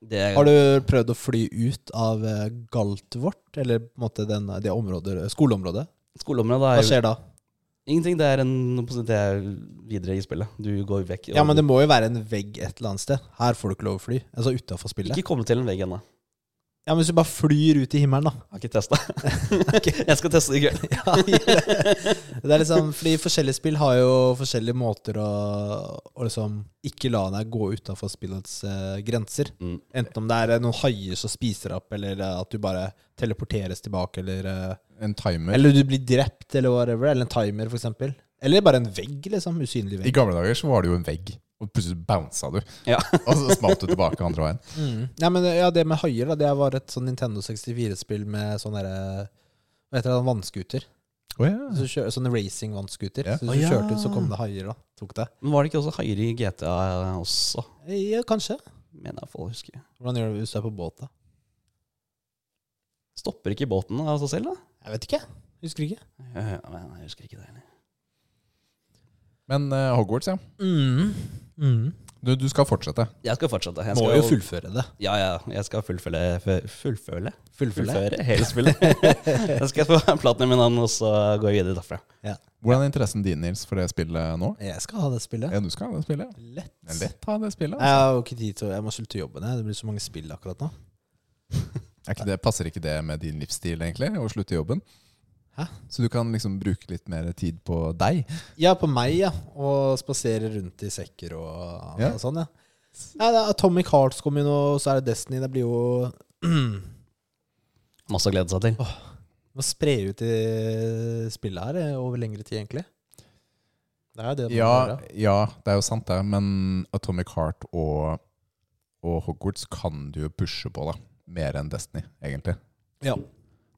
S2: Det-
S1: Har du prøvd å fly ut av eh, Galtvort, eller på en måte den, eh, det området, skoleområdet?
S2: Skoleområdet
S1: Hva
S2: er jo
S1: skjer da?
S2: ingenting. Det er, en, det er videre i spillet. Du går vekk. og
S1: Ja, men det må jo være en vegg et eller annet sted. Her får du ikke lov å fly. Altså utafor spillet.
S2: Ikke koble til en vegg ennå.
S1: Ja, men Hvis du bare flyr ut i himmelen, da.
S2: Har ikke testa. Jeg skal teste det i kveld.
S1: Det er liksom, fordi Forskjellige spill har jo forskjellige måter å, å liksom ikke la deg gå utafor spillets eh, grenser.
S2: Mm.
S1: Enten om det er eh, noen haier som spiser deg opp, eller eh, at du bare teleporteres tilbake, eller eh,
S3: En timer.
S1: Eller du blir drept, eller whatever. Eller en timer, for eksempel. Eller bare en vegg, liksom. Usynlig
S3: I
S1: vegg.
S3: gamle dager så var det jo en vegg, og plutselig bounsa du.
S2: Ja.
S3: Og så smalt du tilbake andre veien.
S1: Mm. Ja, men ja, det med haier, da. Det var et sånn Nintendo 64-spill med sånn derre Hva heter det, sånn vannskuter?
S3: Oh, ja.
S1: Så kjø- Sånn racing vannskuter.
S3: Ja.
S1: Så
S2: Å,
S1: hvis du
S2: ja.
S1: kjørte ut, så kom det haier, da. Tok det.
S2: Men var det ikke også haier i GTA eh, også?
S1: Ja, kanskje.
S2: Mener jeg i hvert fall å huske.
S1: Hvordan gjør du hvis du er på båt, da?
S2: Stopper ikke båten av seg selv, da?
S1: Jeg vet ikke. Husker ikke.
S2: Ja, men jeg husker ikke det heller.
S3: Men eh, Hogwarts, ja.
S1: Mm. Mm.
S3: Du, du skal fortsette.
S2: Jeg skal fortsette. Jeg
S1: Må
S2: skal
S1: jo fullføre det.
S2: Ja, ja. Jeg skal fullføre fu- Fullføre?
S1: Fullføre.
S2: Fullføre hele spillet. jeg skal få platinum i navn, og så går jeg videre derfra.
S3: Hvordan er interessen din, Nils, for det spillet nå?
S1: Jeg skal ha det spillet.
S3: Ja, du skal ha det spillet. ja.
S1: Lett.
S3: Det er lett å ha det spillet.
S1: Jeg
S3: Altså.
S1: har jo ikke tid til å Jeg må slutte jobben. Jeg. Det blir så mange spill akkurat nå.
S3: Er ikke det, passer ikke det med din livsstil, egentlig, å slutte jobben?
S1: Hæ?
S3: Så du kan liksom bruke litt mer tid på deg.
S1: Ja, på meg, ja. Og spasere rundt i sekker og,
S3: Ja.
S1: og sånn, ja. Nei, det er Atomic Hearts kom jo nå, og så er det Destiny. Det blir jo
S2: Masse å glede seg til.
S1: Må spre ut i spillet her eh, over lengre tid, egentlig. Det er jo det man
S3: Ja,
S1: gjør,
S3: ja, det er jo sant, det. Men Atomic Heart og, og Hogwarts kan du jo pushe på, da. Mer enn Destiny, egentlig.
S1: ja.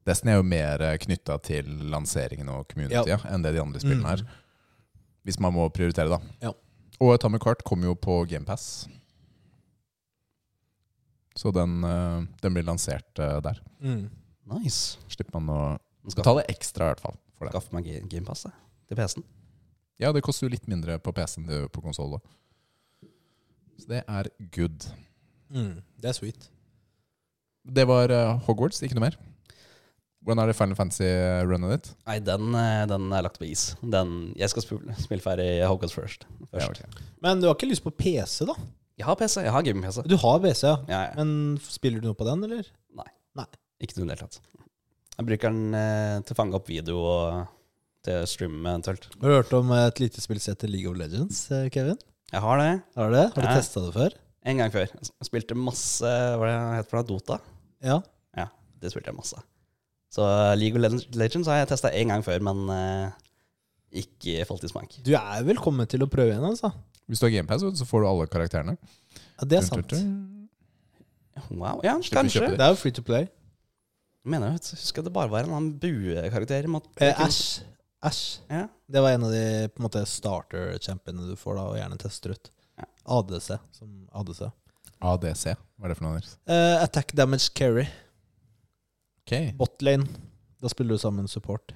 S3: Destiny er jo mer knytta til lanseringen og communitya enn det de andre spillene er. Hvis man må prioritere, da.
S1: Mm. Ja.
S3: Og Atomic Heart kom jo på GamePass. Så den, eh, den blir lansert eh, der.
S1: Mm.
S2: Nice.
S3: Slipper man å
S2: Skaff,
S3: betale ekstra, i hvert fall. For det.
S2: skaff meg Ga- GamePass da, til PC-en.
S3: Ja, det koster jo litt mindre på PC enn det gjør på konsoll. Så det er good.
S1: Mm. Det er sweet.
S3: Det var eh, Hogwarts, ikke noe mer. Hvordan er det Final Fantasy-runnet ditt?
S2: Nei, den, eh, den er lagt på is. Den, jeg skal spille, spille ferdig Hogwarts først. først.
S3: Ja, ok.
S1: Men du har ikke lyst på PC, da?
S2: Jeg har PC. Jeg har gaming-PC.
S1: Du har PC, ja.
S2: Ja, ja.
S1: Men spiller du noe på den, eller?
S2: Ikke noe i det hele tatt. Jeg bruker den eh, til å fange opp video og til å streame eventuelt.
S1: Har du hørt om et lite spill som heter League of Legends, eh, Kevin?
S2: Jeg har det.
S1: Har du det? Har du
S2: Ja.
S1: testa det før?
S2: En gang før. Jeg spilte masse Hva det het for noe? Dota?
S1: Ja.
S2: Det spilte jeg masse. Så eh, League of Legends- Legends har jeg testa én gang før, men eh, ikke falt i smak.
S1: Du er velkommen til å prøve igjen, altså.
S3: Hvis du har GamePass, så får du alle karakterene.
S1: Ja, det er sant.
S3: Dun, dun, dun.
S2: Wow, ja,
S3: Slipper å
S2: kanskje.
S3: kjøpe
S1: Det Eh, er jo free to play.
S2: Mener jeg vet, husker jeg det bare var en eller annen buekarakter. i mat-
S1: Eh, Æsj. Æsj.
S2: Ja.
S1: Det var en av de på en måte starter-championene du får, da, og gjerne tester ut.
S2: Ja.
S1: ADC. Som ADC.
S3: ADC, hva er det for noe? Anders?
S1: Eh, attack damage carry.
S3: Ok,
S1: Botlane. Da spiller du sammen support.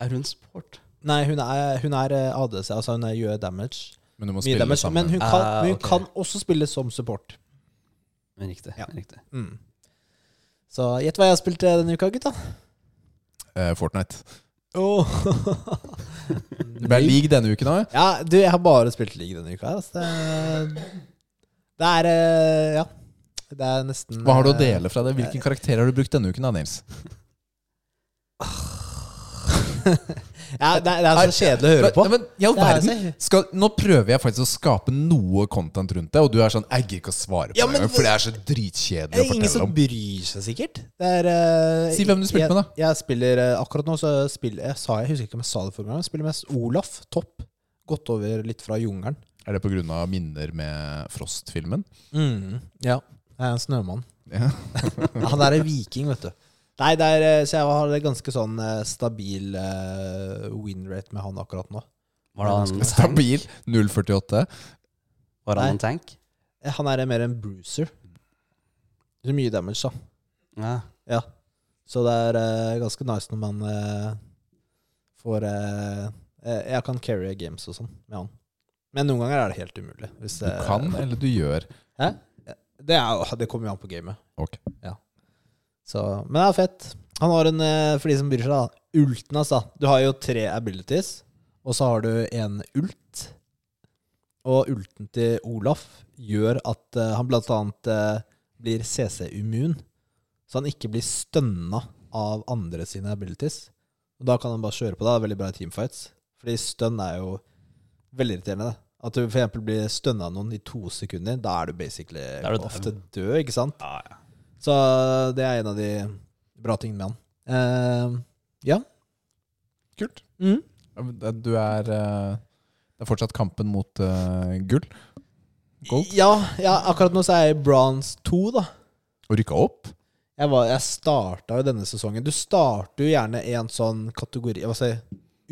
S2: Er hun sport?
S1: Nei, hun er, hun er eh, ADC, altså hun er, gjør damage.
S3: Men du må
S1: Mye
S3: spille
S1: damage.
S3: sammen.
S1: Men hun, kan,
S2: Ah,
S1: men hun
S2: ok.
S1: kan også spille som support.
S2: Men Riktig.
S1: Ja.
S2: riktig.
S1: Mm. Så gjett hva jeg har spilt eh, denne uka, gutta.
S3: Eh, Fortnite.
S1: Åh.
S3: Det ble league denne uken òg.
S1: Ja, du, jeg har bare spilt league denne uka. her, Altså. Det, det er eh, Ja. Det er nesten
S3: Hva har du å
S1: eh,
S3: dele fra det? Hvilken karakter har du brukt denne uken, da, Nils?
S1: ja, det, er- det er så kjedelig å høre på.
S3: Nei, men i all
S1: Det er
S3: verden skal, Nå prøver jeg faktisk å skape noe content rundt det, og du er sånn Jeg gidder ikke å svare på
S1: Ja,
S3: det,
S1: men-
S3: engang, for det er så
S1: Det
S3: dritkjedelig å
S1: er ingen
S3: fortelle
S1: som
S3: om.
S1: bryr seg, sikkert. Det er, eh,
S3: Si hvem du spilte
S1: jeg,
S3: med, da.
S1: Jeg spiller eh, akkurat nå, så spiller jeg, sa jeg, jeg husker ikke om jeg sa det forrige gang, jeg spiller mest Olaf, topp. Gått over litt fra jungelen.
S3: Er det pga. minner med Frost-filmen? Mm.
S1: Ja. Jeg er en snømann.
S3: Ja.
S1: Han er en viking, vet du. Nei, det er, eh, så jeg har det ganske sånn eh, stabil eh, win rate med han akkurat nå.
S2: Var det en tank?
S3: Stabil 048.
S2: Var han en tank?
S1: Eh, Han er mer en bruiser. Det er mye damage, da.
S2: Ja.
S1: Så det er eh, ganske nice når man eh, får eh, eh, Jeg kan carry games og sånn med han. Men noen ganger er det helt umulig. Hvis,
S3: Du
S1: eh,
S3: kan, eller du gjør.
S1: Det, er, jo- det kommer jo an på gamet.
S3: Ok.
S1: Ja. Så, men det er fett. Han har en, eh, for de som bryr seg, da, ulten, altså. Du har jo tre abilities, og så har du en ult. Og ulten til Olaf gjør at eh, han blant annet eh, blir CC-immun, så han ikke blir stønna av andre sine abilities. Og da kan han bare kjøre på. Da. Det er veldig bra i teamfights. Fordi stønn er jo veldig irriterende. da. At du f.eks. blir stønna av noen i to sekunder, da er du basically
S2: Da er du
S1: ofte død, ikke sant?
S2: Ja, ja.
S1: Så det er en av de bra tingene med han. Eh, ja.
S3: Kult.
S1: Mm.
S3: Du er eh, Det er fortsatt kampen mot eh, gull. Gold.
S1: Ja, ja, akkurat nå så er jeg i bronze 2, da.
S3: Og rykka opp.
S1: Jeg, var, jeg starta jo denne sesongen. Du starter jo gjerne i en sånn kategori Hva skal jeg si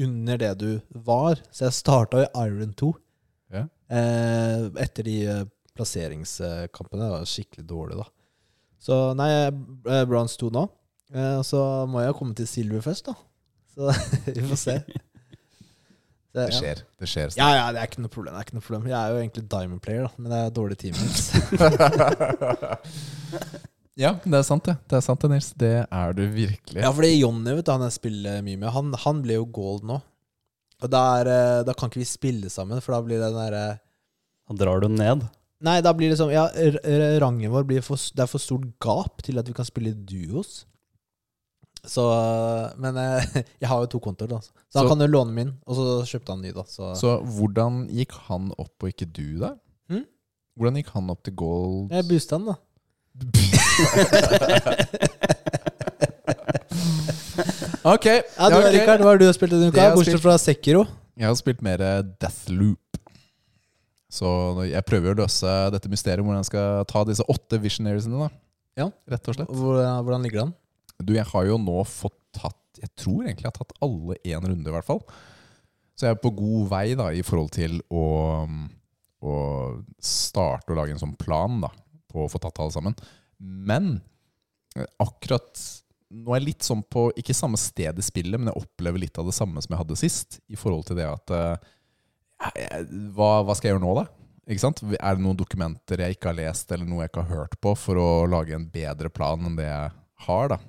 S1: Under det du var. Så jeg starta i Iron 2.
S3: Ja.
S1: Eh, etter de eh, plasseringskampene. Det var skikkelig dårlig, da. Så nei, jeg er eh, bronze 2 nå. Eh, og så må jeg jo komme til silver først, da. Så vi får se. Så,
S3: Det
S1: ja.
S3: skjer. Det skjer.
S1: Ja, ja, det er ikke noe problem. det er ikke noe problem Jeg er jo egentlig diamond player, da, men det er dårlig teammates.
S3: Ja, det er sant, det. Det er sant det, Nils. Det er du virkelig.
S1: ja, fordi Jonny, vet du, han jeg spiller mye med, han, han ble jo gold nå. Og da er, eh, da kan ikke vi spille sammen, for da blir det den derre
S2: Da drar du ned.
S1: Nei, da blir det sånn Ja, r- r- rangen vår blir for, Det er for stort gap til at vi kan spille duos. Så Men eh, jeg har jo to kontoer, da. Så, han
S3: Så-
S1: kan jo låne min, og så kjøpte han ny, da. Så,
S3: Så hvordan gikk han opp, og ikke du der?
S1: Mm.
S3: Hvordan gikk han opp til gold?
S1: jeg boosta han, Eh, da.
S3: Ok!
S1: Ja, du,
S3: ja, ok.
S1: Rikard, hva har du spilt denne
S3: Det
S1: uka?
S3: jeg har
S1: Bortsett
S3: spilt-
S1: fra Sekiro.
S3: Jeg har spilt mer eh, Deathloop. Så jeg prøver å løse dette mysteriet, hvordan jeg skal ta disse åtte visionariesene. da
S1: Ja.
S3: Rett og slett.
S1: Hvordan, eh, hvordan ligger det an?
S3: Du, jeg har jo nå fått tatt Jeg tror egentlig jeg har tatt alle én runde, i hvert fall. Så jeg er på god vei da i forhold til å, um, å starte å lage en sånn plan da på å få tatt alle sammen. Men eh, akkurat nå er jeg litt sånn på Ikke samme sted i spillet, men jeg opplever litt av det samme som jeg hadde sist. I forhold til det at eh, jeg- hva, hva skal jeg gjøre nå, da? Ikke sant? Er det noen dokumenter jeg ikke har lest, eller noe jeg ikke har hørt på, for å lage en bedre plan enn det jeg har, da?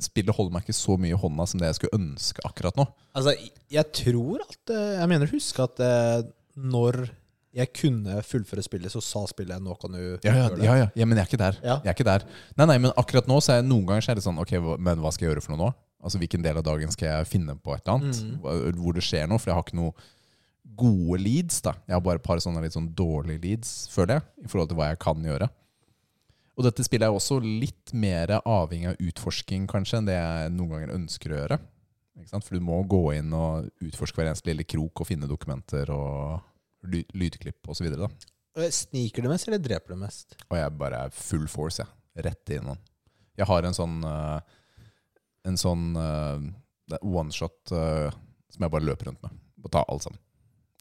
S3: Spillet holder meg ikke så mye i hånda som det jeg skulle ønske akkurat nå.
S1: Altså, jeg tror at eh, Jeg mener, husk at eh, når jeg kunne fullføre spillet, så sa spillet 'nå kan du
S3: Ja, ja,
S1: gjøre det'.
S3: ja, ja. ja men jeg er ikke der.
S1: Ja.
S3: Jeg er ikke der. Nei, nei, men akkurat nå så er jeg noen ganger så er det sånn Ok, hva- men hva skal jeg gjøre for noe nå? Altså Hvilken del av dagen skal jeg finne på et eller annet?
S1: Mhm.
S3: Hva- Hvor det skjer noe? For jeg har ikke noe gode leads. da Jeg har bare et par sånne litt sånn dårlige leads, føler jeg, i forhold til hva jeg kan gjøre. Og dette spillet er jo også litt mer avhengig av utforsking kanskje enn det jeg noen ganger ønsker å gjøre. Ikke sant? For du må gå inn og utforske hver eneste lille krok og finne dokumenter og ly- lydklipp osv.
S1: Eh, Sniker du mest, eller dreper du mest?
S3: Og jeg bare er full force, jeg. Rett innom. Jeg har en sånn eh, En sånn eh, det er one shot eh, som jeg bare løper rundt med. Og tar alt sammen.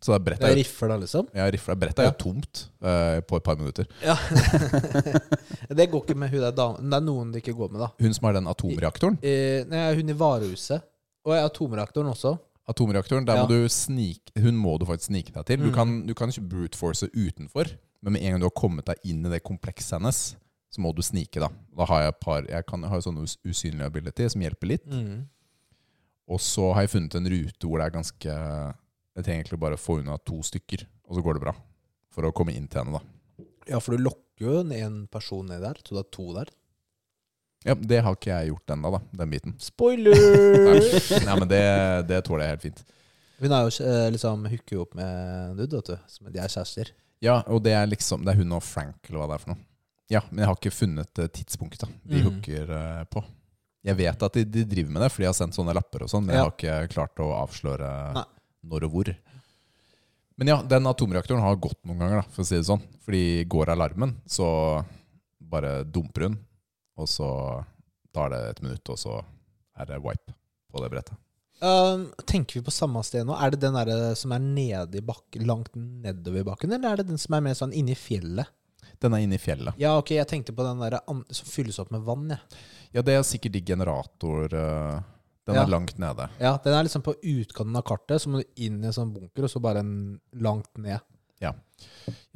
S3: Så det er brettet
S1: Det
S3: er jo-
S1: riffer da, liksom?
S3: ja, riffla. Brettet er jo tomt eh, på et par minutter.
S1: Ja. det går ikke med hun der damen. Det er noen det ikke går med, da.
S3: Hun som er den atomreaktoren.
S1: Eh, nei, hun i varehuset. Og jeg har atomreaktoren også.
S3: Atomreaktoren, der
S1: Ja.
S3: må du snike Hun må du faktisk snike deg til. Du kan, du kan ikke brute force utenfor, men med en gang du har kommet deg inn i det komplekset hennes, så må du snike, da. Da har jeg et par Jeg, kan, jeg har jo sånne us- usynlige ability som hjelper litt. Og så har jeg funnet en rute hvor det er ganske Jeg trenger egentlig bare å få unna to stykker, og så går det bra. For å komme inn til henne, da.
S1: Ja, for du lokker jo en- en person ned der, så du har to der.
S3: Ja, Det har ikke jeg gjort ennå, da. Den biten. Nei,
S1: Spoiler!
S3: nei men det, det tåler jeg helt fint.
S1: Hun er jo eh, liksom hooker jo opp med en dude, vet du. Som- De er kjærester.
S3: Ja, og det er liksom Det er hun og Frank, eller hva det er for noe. Ja, men jeg har ikke funnet eh, tidspunktet da, de
S1: Mhm.
S3: hooker eh, på. Jeg vet at de, de driver med det, for de har sendt sånne lapper og sånn, men
S1: Ja.
S3: jeg har ikke klart å avsløre
S1: Nei.
S3: når og hvor. Men ja, den atomreaktoren har gått noen ganger, da, for å si det sånn. Fordi går alarmen, så bare dumper hun, og så tar det et minutt, og så er det wipe på det brettet.
S1: Um, tenker vi på samme sted nå? Er det den der eh, som er nede i bakken, langt nedover i bakken, eller er det den som er mer sånn inni fjellet?
S3: Den er inne i fjellet.
S1: Ja, ok, jeg tenkte på den der an- som fylles opp med vann, jeg.
S3: Ja, det er sikkert de generator... eh, den
S1: Ja.
S3: er langt nede.
S1: Ja, den er liksom på utkanten av kartet, så må du inn i en sånn bunker, og så bare en langt ned.
S3: Jeg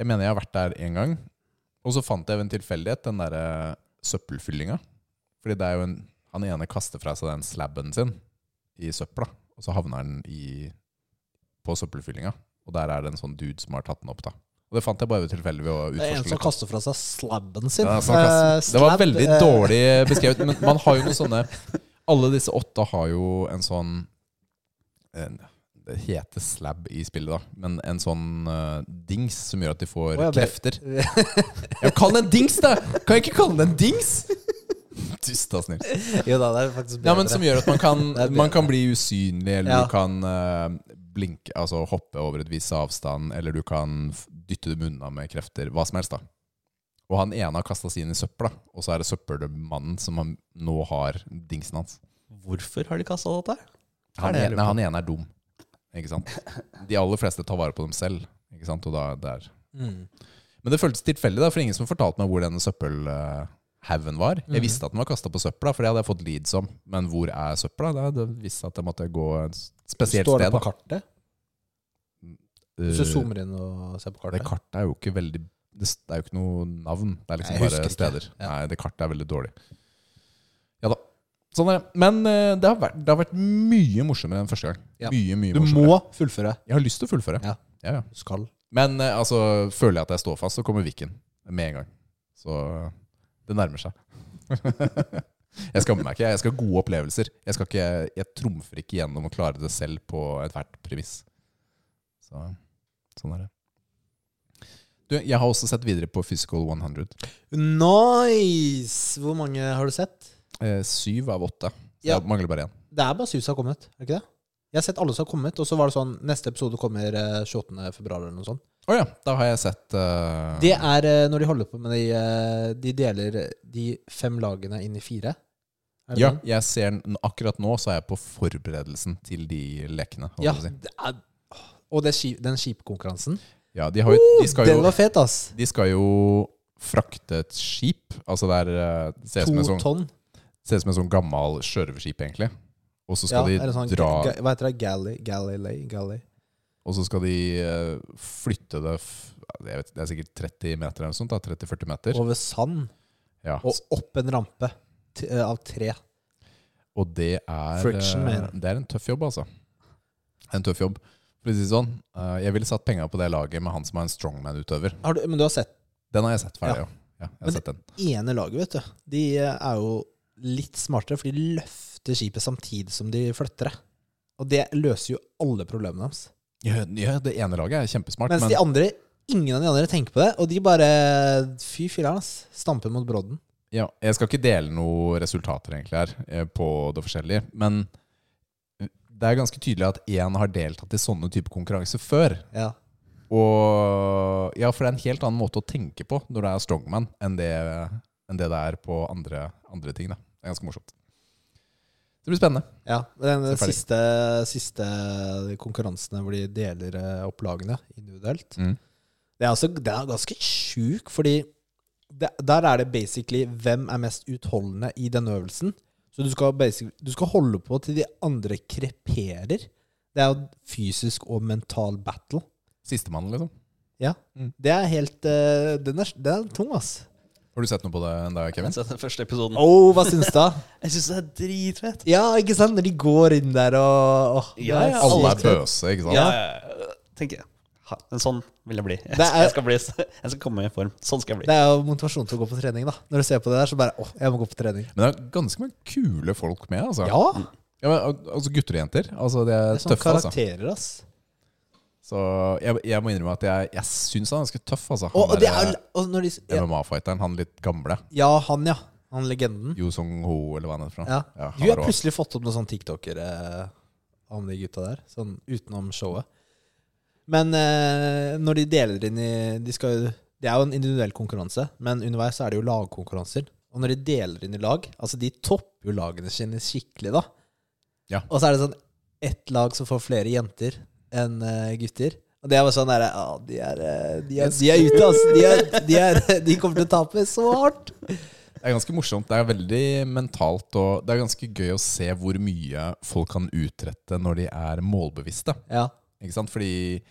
S3: mener jeg har vært der en gang. Og så fant jeg ved en tilfeldighet den der eh, søppelfyllinga. Fordi det er jo en Han ene kaster fra seg den slabben sin i søpla, og så havner den i på søppelfyllinga. Og der er det en sånn dude som har tatt den opp, da. Og det fant jeg bare ved tilfelle ved å
S1: Det er en
S3: utforske
S1: som
S3: litt.
S1: kaster fra seg slabben sin.
S3: Ja, sånn kaster-
S1: Eh,
S3: det var
S1: slab,
S3: veldig
S1: eh,
S3: dårlig beskrevet, men man har jo noen sånne Alle disse åtte har jo en sånn en, Det heter slab i spillet, da, men en sånn eh, dings som gjør at de får
S1: Å, ja, det-
S3: krefter. Ja, kall den en dings, da! Kan jeg ikke kalle den en dings? Tyst, da, snill.
S1: Jo da, det er faktisk bedre.
S3: Ja, men Som gjør at man kan,
S1: Det er bedre.
S3: man kan bli usynlig, eller
S1: Ja.
S3: du kan eh, blinke, altså hoppe over et visst avstand, eller du kan f- dytte dem unna med krefter. Hva som helst, da. Og han ene har kasta seg inn i søpla, og så er det søppelmannen som han nå har dingsen hans.
S2: Hvorfor har de kasta dette? Er
S3: Han,
S2: det jeg
S3: ene,
S2: lurer på?
S3: han ene er dum, ikke sant. De aller fleste tar vare på dem selv, ikke sant. Og da, det er
S1: Mm.
S3: men det føltes tilfeldig, da, for ingen som fortalte meg hvor denne søppelhaugen var.
S1: Mhm.
S3: Jeg visste at den var kasta på søpla, for det hadde jeg fått leads om. Men hvor er søpla? Det, det visste at jeg måtte gå et spesielt
S1: Står det
S3: sted.
S1: på kartet?
S3: da.
S1: Hvis
S3: Eh,
S1: du zoomer inn og ser på
S3: det
S1: kartet?
S3: kartet er jo ikke veldig Det s- det er jo ikke noe navn. Det er liksom
S1: Nei, jeg husker
S3: bare
S1: ikke.
S3: steder.
S1: Ja.
S3: Nei, det kartet er veldig dårlig. Ja da. Sånn er det. Men eh, det har, vært, det har vært mye morsommere enn første gang.
S1: Ja.
S3: Mye, mye
S1: du
S3: morsommere.
S1: må fullføre.
S3: Jeg har lyst til å fullføre.
S1: Ja.
S3: Ja, ja.
S1: Du skal.
S3: Men eh, altså, føler jeg at jeg står fast, så kommer Viken med en gang. Så det nærmer seg. jeg skammer meg ikke. Jeg skal ha gode opplevelser. Jeg, skal ikke, jeg trumfer ikke gjennom å klare det selv på ethvert premiss. Så sånn er det. Du, jeg har også sett videre på Physical 100.
S1: Nice! Hvor mange har du sett?
S3: Eh, syv av åtte. Så
S1: Ja.
S3: Jeg mangler bare én.
S1: Det er bare syv som har kommet, er det ikke det? Jeg har sett alle som har kommet, og så var det sånn Neste episode kommer eh, 28. februar eller noe sånt.
S3: Å ja, da har jeg sett eh,
S1: Det er eh, når de holder på med de eh, De deler de fem lagene inn i fire. Er det
S3: Ja,
S1: sånn?
S3: jeg ser den- akkurat nå så er jeg på forberedelsen til de lekene. holdt
S1: ja.
S3: jeg på å si.
S1: Det er, og det er skip, den skipkonkurransen.
S3: ja de, har jo, de skal jo
S1: Uh, Den var fet, ass!
S3: De skal jo frakte et skip. Altså det er eh, det ser ut som,
S1: To
S3: en sånn,
S1: tonn.
S3: ser ut som en sånn gammal sjørøverskip, egentlig. Og så
S1: Ja,
S3: skal
S1: eller
S3: de
S1: sånn,
S3: dra
S1: ga- Hva heter det? Galley? Galley? Galley.
S3: Og så skal de eh, flytte det f jeg vet, Det er sikkert 30 meter eller noe sånt. da, 30-40 meter.
S1: Over sand
S3: Ja.
S1: og opp en rampe t eh, av tre.
S3: Og det er
S1: Friction,
S3: eh,
S1: man.
S3: Det er en tøff jobb, altså. Det er En tøff jobb. For å si det sånn, eh, jeg ville satt penga på det laget med han som er en strongman-utøver.
S1: Har du, men du har sett
S3: Den har jeg sett ferdig, ja. ja jeg
S1: Men-
S3: har sett den.
S1: ene laget, vet du. De er jo litt smartere, for de løfter skipet samtidig som de flytter det. Og det løser jo alle problemene deres.
S3: Ja, ja, det ene laget er kjempesmart,
S1: Mens
S3: men
S1: de andre, ingen av de andre tenker på det, og de bare Fy filler'n, ass. Stamper mot brodden.
S3: Ja, jeg skal ikke dele noen resultater egentlig her eh, på det forskjellige, men det er ganske tydelig at én har deltatt i sånne type konkurranser før.
S1: Ja.
S3: Og Ja, for det er en helt annen måte å tenke på når du er strongman, enn det, enn det det er på andre, andre ting. da Det er ganske morsomt. Det blir spennende.
S1: Ja, Den
S3: Så ferdig.
S1: siste, siste konkurransene hvor de deler eh, opp lagene individuelt,
S3: Mm.
S1: det er, altså, det er ganske sjuk, fordi det, der er det basically hvem er mest utholdende i denne øvelsen. Så du skal, basic- du skal holde på til de andre kreperer. Det er jo fysisk og mental battle.
S3: Sistemann, liksom.
S1: Ja.
S3: Mm.
S1: Det er helt eh, den, er, den er tung, ass.
S3: Har du sett noe på det enda,
S2: Jeg har
S3: Kevin?
S2: sett den første episoden.
S1: Oh, hva syns du? da?
S2: Jeg syns det er dritfett.
S1: Ja, ikke sant? Når de går inn der og åh, det
S2: Ja, ja,
S3: Alle
S1: sykt
S3: er
S1: fett.
S3: bøse, ikke sant?
S2: Ja, tenker jeg. Ha, en sånn vil jeg bli. Jeg,
S1: Det er-
S2: jeg, skal bli. jeg skal komme i form. Sånn skal jeg bli.
S1: Det er jo motivasjon til å gå på trening, da. Når du ser på det der, så bare åh, jeg må gå på trening.
S3: Men det er ganske mange kule folk med. altså
S1: Ja!
S3: Ja, men, al- altså Gutter og jenter. Altså De
S1: Det
S3: er,
S1: er sånn sånne
S3: tøffe. altså
S1: karakterer, ass.
S3: Så jeg, jeg må innrømme at jeg, jeg syns han er ganske tøff. altså
S1: Og, og
S3: Han
S1: det
S3: er,
S1: er og når de,
S3: eh,
S1: ja,
S3: MMA-fighteren, han litt gamle.
S1: ja, han, ja. Han legenden.
S3: Yo Song-ho, eller hva han heter. for noe.
S1: Ja.
S3: Ja,
S1: Du
S3: han
S1: har
S3: er rå.
S1: plutselig fått opp noen sånne TikTokere eh, om de gutta der, sånn utenom showet. Men eh, når de deler inn i de skal, jo- Det er jo en individuell konkurranse, men underveis så er det jo lagkonkurranser. Og når de deler inn i lag Altså, de topper jo lagene sine skikkelig, da.
S3: Ja.
S1: Og så er det sånn ett lag som får flere jenter enn eh, gutter. Og det er bare sånn derre Ja, de er, eh, de er, de er ute, altså. De, er, de, er, de kommer til å tape så hardt.
S3: Det er ganske morsomt. Det er veldig mentalt, og det er ganske gøy å se hvor mye folk kan utrette når de er målbevisste.
S1: Ja.
S3: Ikke sant? Fordi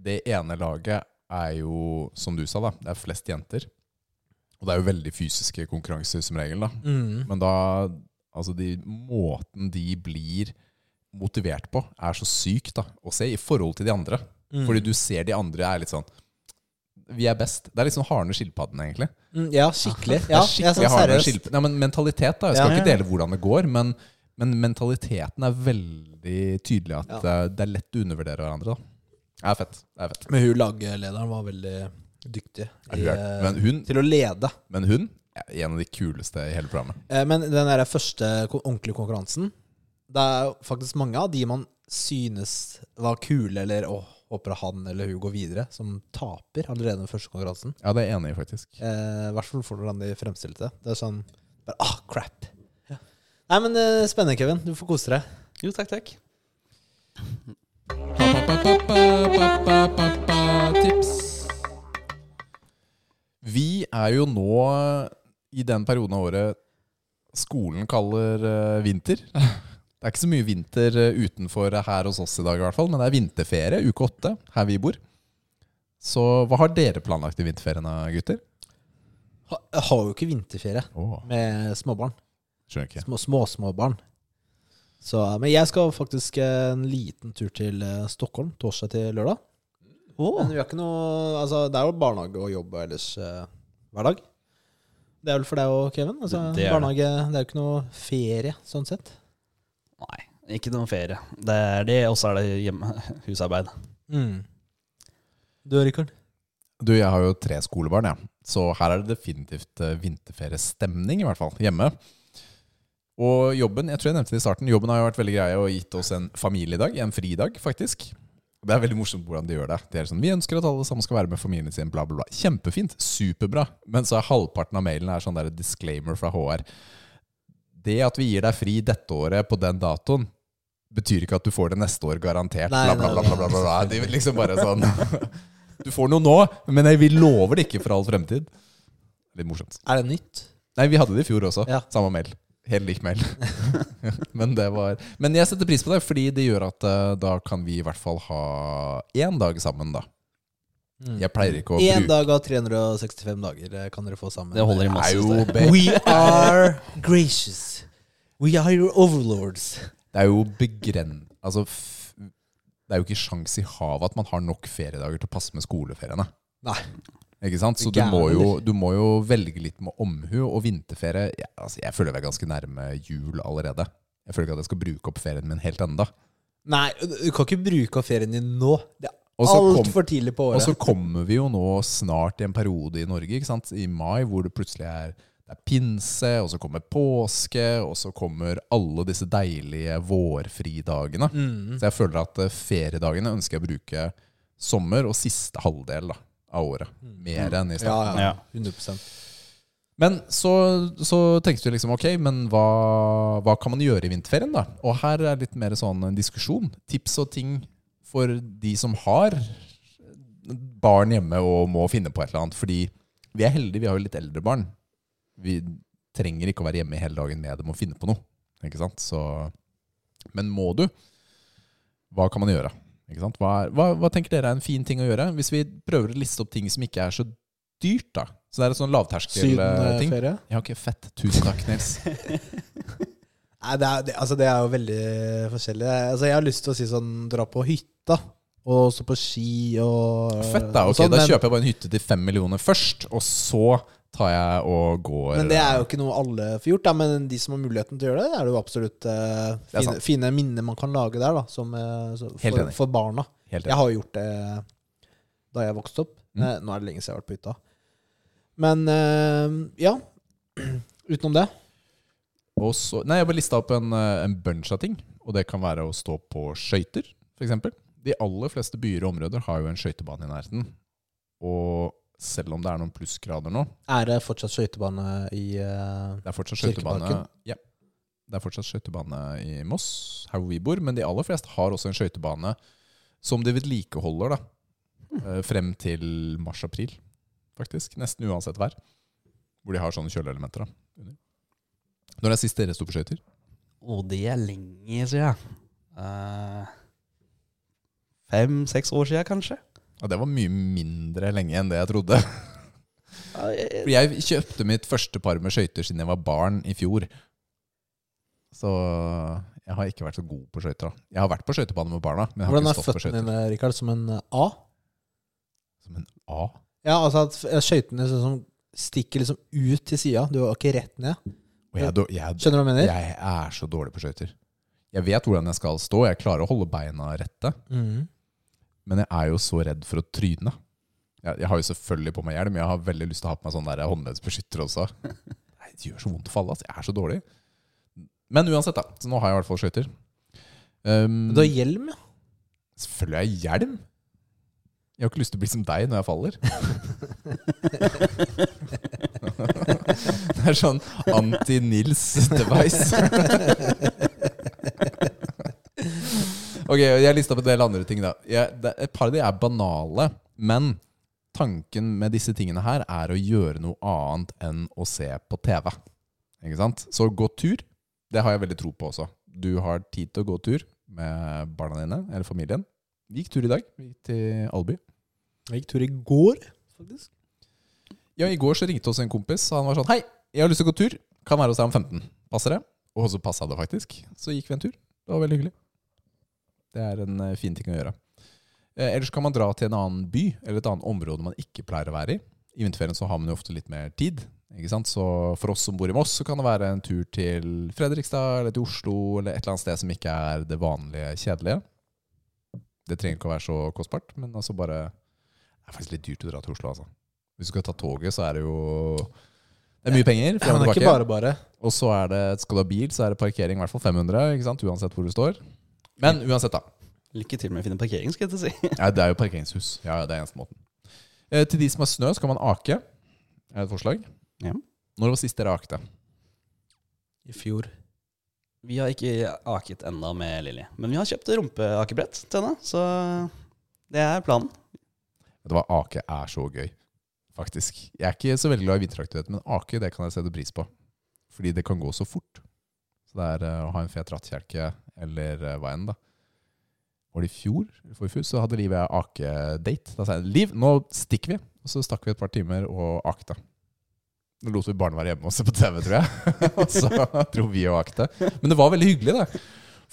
S3: det ene laget er jo, som du sa, da, det er flest jenter. Og det er jo veldig fysiske konkurranser som regel. da.
S1: Mm.
S3: Men da, altså de, måten de blir motivert på, er så syk da, å se i forhold til de andre.
S1: Mm.
S3: Fordi du ser de andre er litt sånn Vi er best. Det er litt sånn harne skilpadden, egentlig.
S1: Mm, ja, skikkelig.
S3: Det
S1: Ja, jeg
S3: er
S1: er
S3: skikkelig
S1: sånn
S3: harde
S1: seriøst.
S3: skilp- Nei, men mentalitet, da. Jeg skal
S1: Ja.
S3: ikke dele hvordan det går, men, men mentaliteten er veldig tydelig at det er- det er lett å undervurdere hverandre. da. Det er fett. Det er fett.
S1: Men hun laglederen var veldig dyktig
S3: Ja,
S1: i, eh,
S3: hun er- Men hun,
S1: til å lede.
S3: men hun er en av de kuleste i hele programmet.
S1: Eh, Men den der første ko- ordentlige konkurransen Det er jo faktisk mange av de man synes var kule, eller å, håper han eller hun går videre, som taper allerede den første konkurransen.
S3: Ja, det er jeg enig i, faktisk.
S1: Eh, I hvert fall for hvordan de fremstilte det. Det er sånn bare, Ah, crap. Nei, men eh, spennende, Kevin. Du får kose deg.
S2: Jo, takk, takk.
S3: Tips. Vi er jo nå i den perioden av året skolen kaller eh, vinter. Det er ikke så mye vinter eh, utenfor her hos oss i dag, i hvert fall, men det er vinterferie uke åtte her vi bor. Så hva har dere planlagt i vinterferien, da, gutter?
S1: Ha, jeg har jo ikke vinterferie
S3: Oh,
S1: med småbarn.
S3: skjønner ikke.
S1: Små, små, små barn. Så, eh, men jeg skal faktisk eh, en liten tur til eh, Stockholm torsdag til lørdag. Men vi har ikke noe altså, Det er jo barnehage og jobb og ellers eh, hver dag. Det er vel for deg òg, Kevin? Altså,
S2: Det- det er det.
S1: barnehage det er jo ikke noe ferie sånn sett.
S2: Nei, ikke noen ferie. Det er det, og så er det hjemme, husarbeid.
S1: Du Rikard?
S3: Du, jeg har jo tre skolebarn, jeg. Så her er det definitivt eh, vinterferiestemning, i hvert fall, hjemme. Og jobben, jeg tror jeg nevnte det i starten, jobben har jo vært veldig grei og gitt oss en familiedag, en fridag, faktisk. Det er veldig morsomt hvordan de gjør det. Det er sånn, Vi ønsker at alle sammen skal være med familien sin, bla, bla, bla. Kjempefint. Superbra. Men så er halvparten av mailen er sånn der disclaimer fra HR. Det at vi gir deg fri dette året på den datoen, betyr ikke at du får det neste år garantert.
S1: Nei,
S3: Bla, bla,
S1: nei,
S3: bla,
S1: nei,
S3: bla, bla, bla, bla. De er liksom bare sånn Du får noe nå, men vi lover det ikke for all fremtid. Litt morsomt.
S1: Er det nytt?
S3: Nei, vi hadde det i fjor også.
S1: Ja.
S3: Samme mail. Helt lik mail. men, det var, men jeg setter pris på det, fordi det gjør at eh, da kan vi i hvert fall ha én dag sammen, da. Jeg pleier ikke å
S1: Én
S3: bruke
S1: dag av 365 dager eh, kan dere få sammen.
S2: Det holder
S3: Det
S2: i
S3: er
S2: masse.
S3: jo
S2: synes jeg.
S3: be-
S1: We are gracious. We are your overlords.
S3: Det er jo begren... Altså, f det er jo ikke sjans i havet at man har nok feriedager til å passe med skoleferiene.
S1: Nei.
S3: Ikke sant? Så du
S1: Gæren,
S3: må, jo, du må jo velge litt med omhu, og vinterferie ja, altså, Jeg føler vi er ganske nærme jul allerede. Jeg føler ikke at jeg skal bruke opp ferien min helt enda.
S1: Nei, du kan ikke bruke av ferien din nå. Det
S3: Og
S1: er
S3: så kom-
S1: altfor tidlig på
S3: Og
S1: året.
S3: så kommer vi jo nå snart i en periode i Norge, ikke sant? i mai, hvor det plutselig er, det er pinse, og så kommer påske, og så kommer alle disse
S1: Mm.
S3: deilige vårfridagene. Så jeg føler at eh, feriedagene ønsker jeg å bruke sommer og siste halvdel da, av året. Mer enn i starten.
S1: Mm. Ja, ja.
S2: Ja.
S1: 100
S3: Men så, så tenkte vi liksom, ok, men hva, hva kan man gjøre i vinterferien da? Og her er litt mer sånn en diskusjon. Tips og ting for de som har barn hjemme og må finne på et eller annet. Fordi vi er heldige, vi har jo litt eldre barn. Vi trenger ikke å være hjemme hele dagen med dem og finne på noe. Ikke sant? Så, men må du, hva kan man gjøre? Ikke sant? Hva, er, hva, hva tenker dere er en fin ting å gjøre? Hvis vi prøver å liste opp ting som ikke er så dyrt da. Så det er en sånn lavterskel-ting.
S1: Sydenferie?
S3: Ja, ok, fett. Tusen takk, Nils.
S1: Nei, det er, det, altså, det er jo veldig forskjellig. Altså, jeg har lyst til å si sånn dra på hytta, og så på ski og
S3: Fett da,
S1: og
S3: ok,
S1: sånn,
S3: da
S1: men-
S3: kjøper jeg bare en hytte til fem millioner først, og så tar jeg og går
S1: Men det er jo ikke noe alle får gjort, da. men de som har muligheten til å gjøre det, det er det jo absolutt eh,
S3: Det er
S1: fine,
S3: sant.
S1: fine minner man kan lage der, da, som, eh, så,
S3: Helt
S1: for,
S3: enig.
S1: for barna.
S3: Helt
S1: Jeg har jo gjort det da jeg vokste opp.
S3: Mm.
S1: Eh, Nå er det lenge siden jeg har vært på hytta. Men eh, ja, utenom det
S3: Og så, nei, jeg bare lista opp en, eh, en bunch av ting. Og det kan være å stå på skøyter, f.eks. De aller fleste byer og områder har jo en skøytebane i nærheten. Og selv om det er noen plussgrader nå,
S1: er det fortsatt skøytebane i eh,
S3: det er fortsatt skøytebane
S1: Kirkeparken?
S3: ja, Det er fortsatt skøytebane i Moss, her hvor vi bor, men de aller fleste har også en skøytebane som de vedlikeholder da, eh, frem til mars-april, faktisk. Nesten uansett vær. Hvor de har sånne kjøleelementer. da, under. Når er sist dere sto på skøyter?
S2: Og det er lenge siden. Uh, Fem-seks år siden, kanskje.
S3: Ja, det var mye mindre lenge enn det jeg trodde.
S2: Ja, jeg- jeg-
S3: For jeg kjøpte mitt første par med skøyter siden jeg var barn i fjor. Så jeg har ikke vært så god på skøyter. da. Jeg har vært på skøytebane med barna, men jeg har
S1: Hvordan er
S3: ikke stått på
S1: føttene
S3: skøyter.
S1: dine, Rikard? Som en eh, A?
S3: Som en A.
S1: Ja, altså at f- skøytene sånn som stikker liksom ut til sida. Du har ikke rett ned.
S3: Og jeg, er dår- jeg,
S1: Skjønner du hva jeg
S3: er-
S1: mener?
S3: jeg er så dårlig på skøyter. Jeg vet hvordan jeg skal stå, jeg klarer å holde beina rette,
S1: Mhm.
S3: men jeg er jo så redd for å tryne. Jeg, jeg har jo selvfølgelig på meg hjelm, jeg har veldig lyst til å ha på meg sånn der håndleddsbeskytter også. Nei, det gjør så vondt å falle, altså. Jeg er så dårlig. Men uansett, da. Så nå har jeg i hvert fall skøyter. Um,
S1: Men Du har hjelm, ja.
S3: Selvfølgelig har jeg hjelm. Jeg har ikke lyst til å bli som deg når jeg faller. det er sånn anti-Nils-device. ok, jeg lista opp en del andre ting. da jeg, det, Et par av de er banale, men tanken med disse tingene her er å gjøre noe annet enn å se på TV. Ikke sant? Så gå tur. Det har jeg veldig tro på også. Du har tid til å gå tur med barna dine eller familien. Vi gikk tur i dag. Vi gikk til Alby.
S1: Jeg gikk tur i går, faktisk.
S3: Ja, I går så ringte oss en kompis, og han var sånn Hei, jeg har lyst til å gå tur. Kan være hos deg om 15. Passer det? Og så passa det faktisk. Så gikk vi en tur. Det var veldig hyggelig. Det er en eh, fin ting å gjøre. Eh, ellers kan man dra til en annen by eller et annet område man ikke pleier å være i. I vinterferien så har man jo ofte litt mer tid. Ikke sant? Så for oss som bor i Moss, så kan det være en tur til Fredrikstad eller til Oslo eller et eller annet sted som ikke er det vanlige kjedelige. Det trenger ikke å være så kostbart, men altså bare Det er faktisk litt dyrt å dra til Oslo, altså. Hvis du skal ta toget, så er det jo Det er mye penger.
S1: Ja,
S3: Frem
S1: men
S3: og
S1: det er
S3: tilbake.
S1: ikke bare bare.
S3: Og så er det, skal du ha bil, så er det parkering i hvert fall 500, ikke sant? uansett hvor du står. Men uansett, da.
S2: Lykke til med å finne parkering, skal jeg til å si.
S3: Ja, det er jo parkeringshus. Ja, ja, det er eneste måten. Eh, til de som har snø, så kan man ake. Er et forslag.
S2: Ja.
S3: Når var sist dere akte?
S1: I fjor.
S2: Vi har ikke aket enda med Lilly, men vi har kjøpt rumpeakebrett til henne, så det er planen.
S3: Vet du hva, ake er så gøy, faktisk. Jeg er ikke så veldig glad i vinteraktivitet, men ake det kan jeg sette pris på. Fordi det kan gå så fort. Så det er eh, å ha en fet rattkjelke, eller eh, hva enn, da. Var det i fjor, eller forrige fjor, så hadde Liv og jeg akedate. Da sa jeg Liv, nå stikker vi! Og så stakk vi et par timer og akte. Da lot vi barna være hjemme og se på TV, tror jeg. og så dro vi og akte. Men det var veldig hyggelig, det.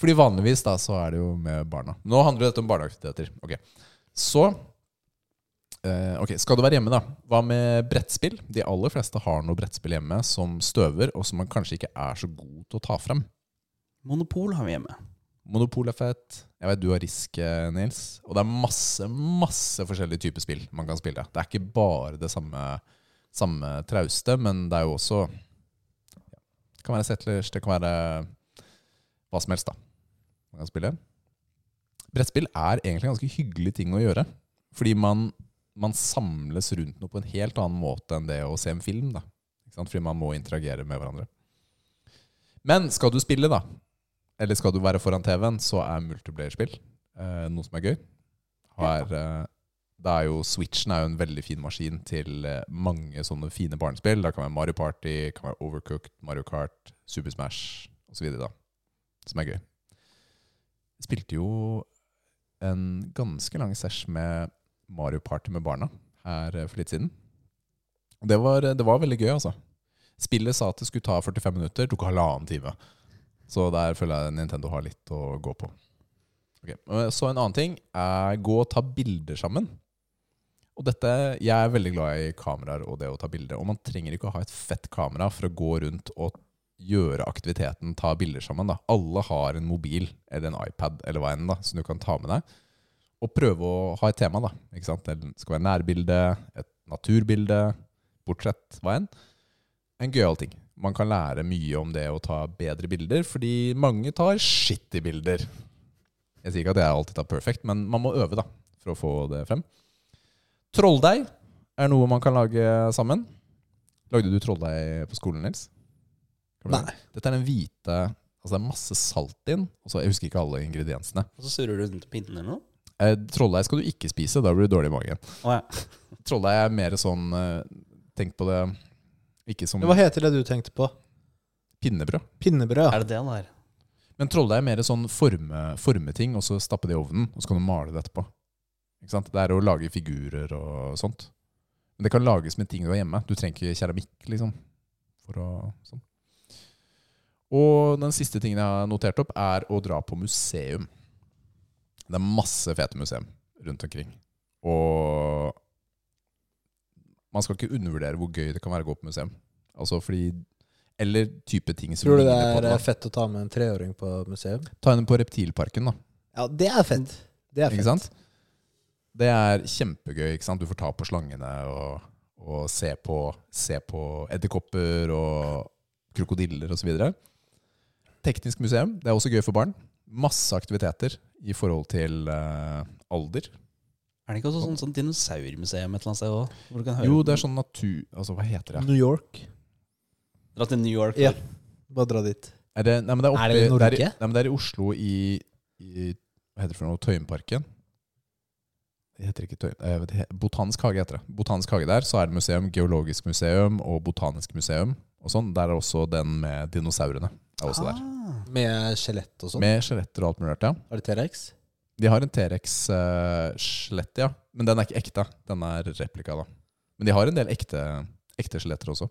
S3: Fordi vanligvis da så er det jo med barna. Nå handler dette om barneaktiviteter. Ok. Så Eh, ok, Skal du være hjemme, da? Hva med brettspill? De aller fleste har noe brettspill hjemme som støver, og som man kanskje ikke er så god til å ta frem.
S2: Monopol har vi hjemme.
S3: Monopol er fett. Jeg vet du har Risk, eh, Nils. Og det er masse masse forskjellige typer spill man kan spille. Det er ikke bare det samme, samme trauste, men det er jo også Det kan være settlers, det kan være hva som helst, da. Man kan spille. Brettspill er egentlig en ganske hyggelig ting å gjøre. Fordi man, man samles rundt noe på en helt annen måte enn det å se en film. da. Ikke sant? Fordi man må interagere med hverandre. Men skal du spille, da, eller skal du være foran TV-en, så er multiplayerspill eh, noe som er gøy. Har, eh, det er jo, Switchen er jo en veldig fin maskin til eh, mange sånne fine barnespill. Det kan være Mario Party, kan være Overcooked, Mario Kart, Super Smash osv. Som er gøy. Spilte jo en ganske lang sesj med Mario Party med barna her eh, for litt siden. Og Det var, det var veldig gøy, altså. Spillet sa at det skulle ta 45 minutter, tok halvannen time. Så der føler jeg Nintendo har litt å gå på. Ok, eh, Så en annen ting er gå og ta bilder sammen. Og dette, Jeg er veldig glad i kameraer og det å ta bilder. Og man trenger ikke å ha et fett kamera for å gå rundt og gjøre aktiviteten, ta bilder sammen. da. Alle har en mobil eller en iPad eller hva enn da, som du kan ta med deg. Og prøve å ha et tema. da. Ikke sant? Det skal være nærbilde, et naturbilde, portrett, hva enn en gøyal ting. Man kan lære mye om det å ta bedre bilder, fordi mange tar skittige bilder. Jeg sier ikke at jeg alltid tar perfect, men man må øve da, for å få det frem. Trolldeig er noe man kan lage sammen. Lagde du trolldeig på skolen, Nils? Kan du
S1: Nei.
S3: det? Dette er den hvite, altså det er masse salt inn, og så jeg husker ikke alle ingrediensene.
S2: Og så surrer du rundt pinnen eller noe?
S3: Eh, Trolldeig skal du ikke spise, da blir du dårlig i magen.
S2: Å ja.
S3: Trolldeig er mer sånn, eh, tenk på det, ikke som
S1: Hva heter det du tenkte på?
S3: pinnebrød.
S1: Pinnebrød, ja.
S2: Er det det han er?
S3: Men trolldeig er mer sånn forme, formeting, og så stappe det i ovnen, og så kan du male det etterpå. Ikke sant? Det er å lage figurer og sånt. Men det kan lages med ting du har hjemme. Du trenger ikke keramikk, liksom. For å, sånn. Og den siste tingen jeg har notert opp, er å dra på museum. Det er masse fete museum rundt omkring. Og man skal ikke undervurdere hvor gøy det kan være å gå på museum. Altså fordi Eller type ting som
S1: Tror du det
S3: ligner på
S1: er
S3: da.
S1: eh, fett å ta med en treåring på museum?
S3: Ta henne på Reptilparken, da.
S1: Ja, det er fett. Det er fett.
S3: Ikke sant? Det er kjempegøy. ikke sant? Du får ta på slangene og, og se på, se på edderkopper og krokodiller osv. Teknisk museum. Det er også gøy for barn. Masse aktiviteter i forhold til eh, alder.
S2: Er det ikke også sånn, sånn dinosaurmuseum et eller annet sted òg? Hvor du kan høre
S3: Jo, det er sånn natur... Altså, hva heter det?
S1: New York.
S2: Dra til New York.
S1: Ja. Bare dra dit.
S3: Er det, nei, men det er,
S1: Er
S3: oppe,
S1: det i Norge?
S3: i, nei, men det er i Oslo i, i Hva heter det for noe? Tøyenparken? Det heter ikke Tøyen... eh, det he- Botanisk hage heter det. Botanisk hage der, så er det museum. Geologisk museum og botanisk museum. og sånn. Der er også den med dinosaurene. er også der.
S2: Ah.
S1: Med skjelett og sånn.
S3: Med skjeletter og alt mulig rart, ja.
S1: Er det T-rex?
S3: De har en T-rex-skjelett, ja. Men den er ikke ekte. Den er replika, da. Men de har en del ekte, ekte skjeletter også.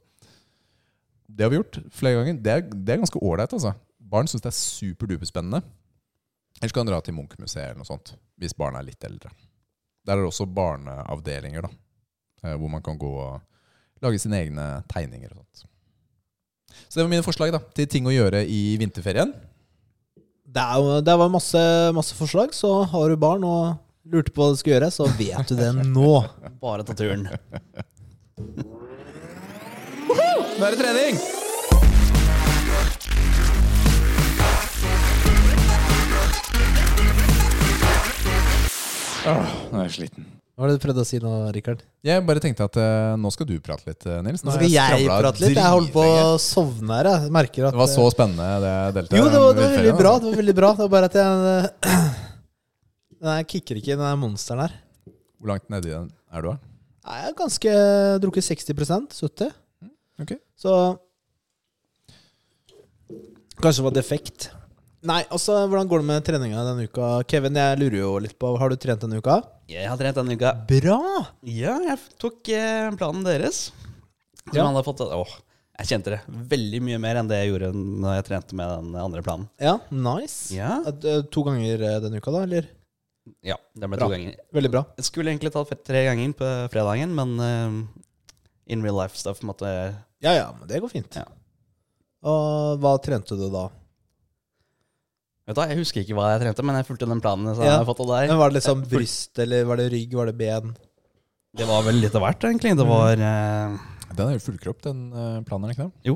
S3: Det har vi gjort flere ganger. Det er, det er ganske ålreit, altså. Barn syns det er superduperspennende. Eller så kan de dra til Munch-museet eller noe sånt, hvis barna er litt eldre. Der er det også barneavdelinger, da. eh, Hvor man kan gå og lage sine egne tegninger og sånt. Så det var mine forslag da, til ting å gjøre i vinterferien.
S1: Det, er, jo- det var masse, masse forslag, så har du barn og lurte på hva du skulle gjøre, så vet du det nå.
S2: Bare ta turen.
S3: Nå er det trening! Ah, nå er jeg sliten.
S1: Hva var det du prøvde å si nå, Rikard?
S3: Jeg bare tenkte at eh, nå skal du prate litt, eh, Nils.
S1: Nå
S3: har
S1: skal jeg
S3: skravlet
S1: prate litt. Jeg holder på
S3: dritlenge.
S1: å sovne her. Jeg merker at eh,
S3: Det var så spennende, det jeg delte.
S1: Jo, det var, det
S3: om
S1: var veldig
S3: vinterferien,
S1: bra.
S3: altså.
S1: Det var veldig bra. Det var bare at jeg Nei, jeg kicker ikke den der monsteren her.
S3: Hvor langt nedi den er du, da?
S1: Nei, jeg har ganske drukket 60 70
S3: Ok.
S1: Så Kanskje det var defekt. Nei, altså, hvordan går det med treninga denne uka? Kevin, jeg lurer jo litt på Har du trent denne uka?
S2: Jeg har trent denne uka.
S1: Bra!
S2: Ja, jeg tok eh, planen deres. Som
S1: Ja.
S2: han hadde fått Åh, jeg kjente det veldig mye mer enn det jeg gjorde når jeg trente med den andre planen.
S1: Ja, nice.
S2: Ja,
S1: At, eh, To ganger eh, denne uka, da? Eller?
S2: ja det ble
S1: Bra.
S2: to ganger.
S1: Veldig bra.
S2: Jeg skulle egentlig tatt fe- tre ganger på fredagen, men eh, in real life stuff måtte jeg
S1: Ja ja, men det går fint.
S2: Ja.
S1: Og hva trente du da?
S2: Vet du, hva, Jeg husker ikke hva jeg trente, men jeg fulgte den planen som
S1: Ja.
S2: jeg har fått av deg.
S1: Men var det liksom bryst, eller var det rygg, var det ben?
S2: Det var vel litt av hvert, egentlig.
S1: Mm.
S2: Det var eh,
S3: Den er jo fullkropp, den eh, planen, er ikke det?
S2: Jo.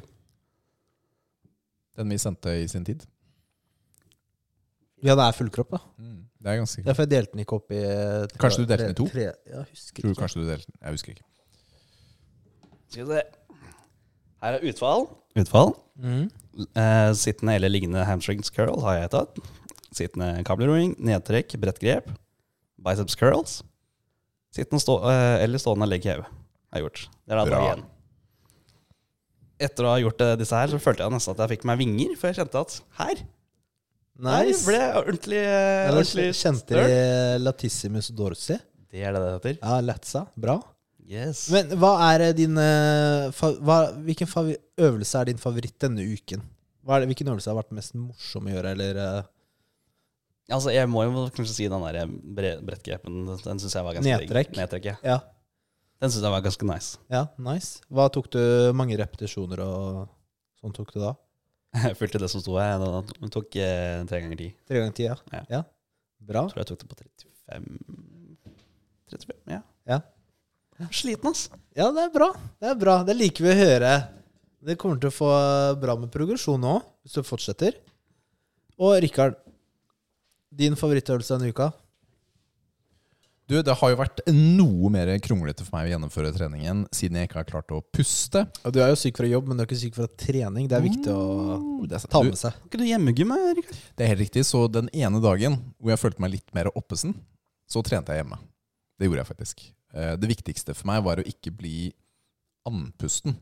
S3: Den vi sendte i sin tid.
S1: Ja, det er full kropp, da.
S3: Mm, det er ganske
S1: Ja, for jeg delte den ikke opp i eh, tre-
S3: Kanskje du delte den
S1: tre-
S3: i to?
S1: tre- Ja, jeg husker
S3: Tror du
S1: ikke.
S3: kanskje du delte den? Jeg husker ikke.
S2: Skal vi se. Her er utfall. Utfall.
S1: Mhm.
S2: Eh, sittende eller liggende hamstrings curl har jeg tatt. Sittende kableroing, nedtrekk, bredt grep. Biceps curls. Sittende stå, eh, eller stående leg heve har jeg gjort. Det er da dag
S3: Bra.
S2: én. Etter å ha gjort eh, disse her, så følte jeg nesten at jeg fikk meg vinger, for jeg kjente at her, her
S1: Nice.
S2: ble jeg ordentlig, eh,
S1: Eller
S2: ordentlig
S1: kjente
S2: støl.
S1: de latissimus dorsi?
S2: Det er det det heter.
S1: Ja, latsa. Bra.
S2: Yes.
S1: Men hva er eh, din eh, fa hva, Hvilken favi øvelse er din favoritt denne uken? Hva er det, hvilken øvelse har vært mest morsom å gjøre, eller eh,
S2: altså, jeg må jo kanskje si den der bre- brettgrepen, den, den syns jeg var ganske digg.
S1: Nedtrekk.
S2: Nedtrekk, ja.
S1: Ja.
S2: Den syns jeg var ganske nice.
S1: Ja, nice. Hva tok du mange repetisjoner og sånn tok du da?
S2: Jeg fulgte det som sto her. da- da- Hun tok eh, tre ganger ti.
S1: Tre ganger ti, ja.
S2: Ja.
S1: Bra.
S2: Jeg tror jeg tok det på 35 35, ja.
S1: Ja.
S2: Jeg er Sliten, ass.
S1: Ja, det er bra. Det er bra. Det liker vi å høre. Det kommer til å få bra med progresjon nå, hvis du fortsetter. Og Rikard, din favorittøvelse denne uka?
S3: Du, det har jo vært noe mer kronglete for meg å gjennomføre treningen siden jeg ikke har klart å puste.
S1: Du er jo syk fra jobb, men du er ikke syk fra trening. Det er viktig å
S3: Oh, det, er
S1: Mm.
S3: sant.
S1: ta
S3: Du,
S1: med seg.
S2: Har ikke du hjemmegym, eh, Rikard?
S3: det er helt riktig. Så den ene dagen hvor jeg følte meg litt mer oppesen, så trente jeg hjemme. Det gjorde jeg faktisk. Eh, Det viktigste for meg var å ikke bli andpusten.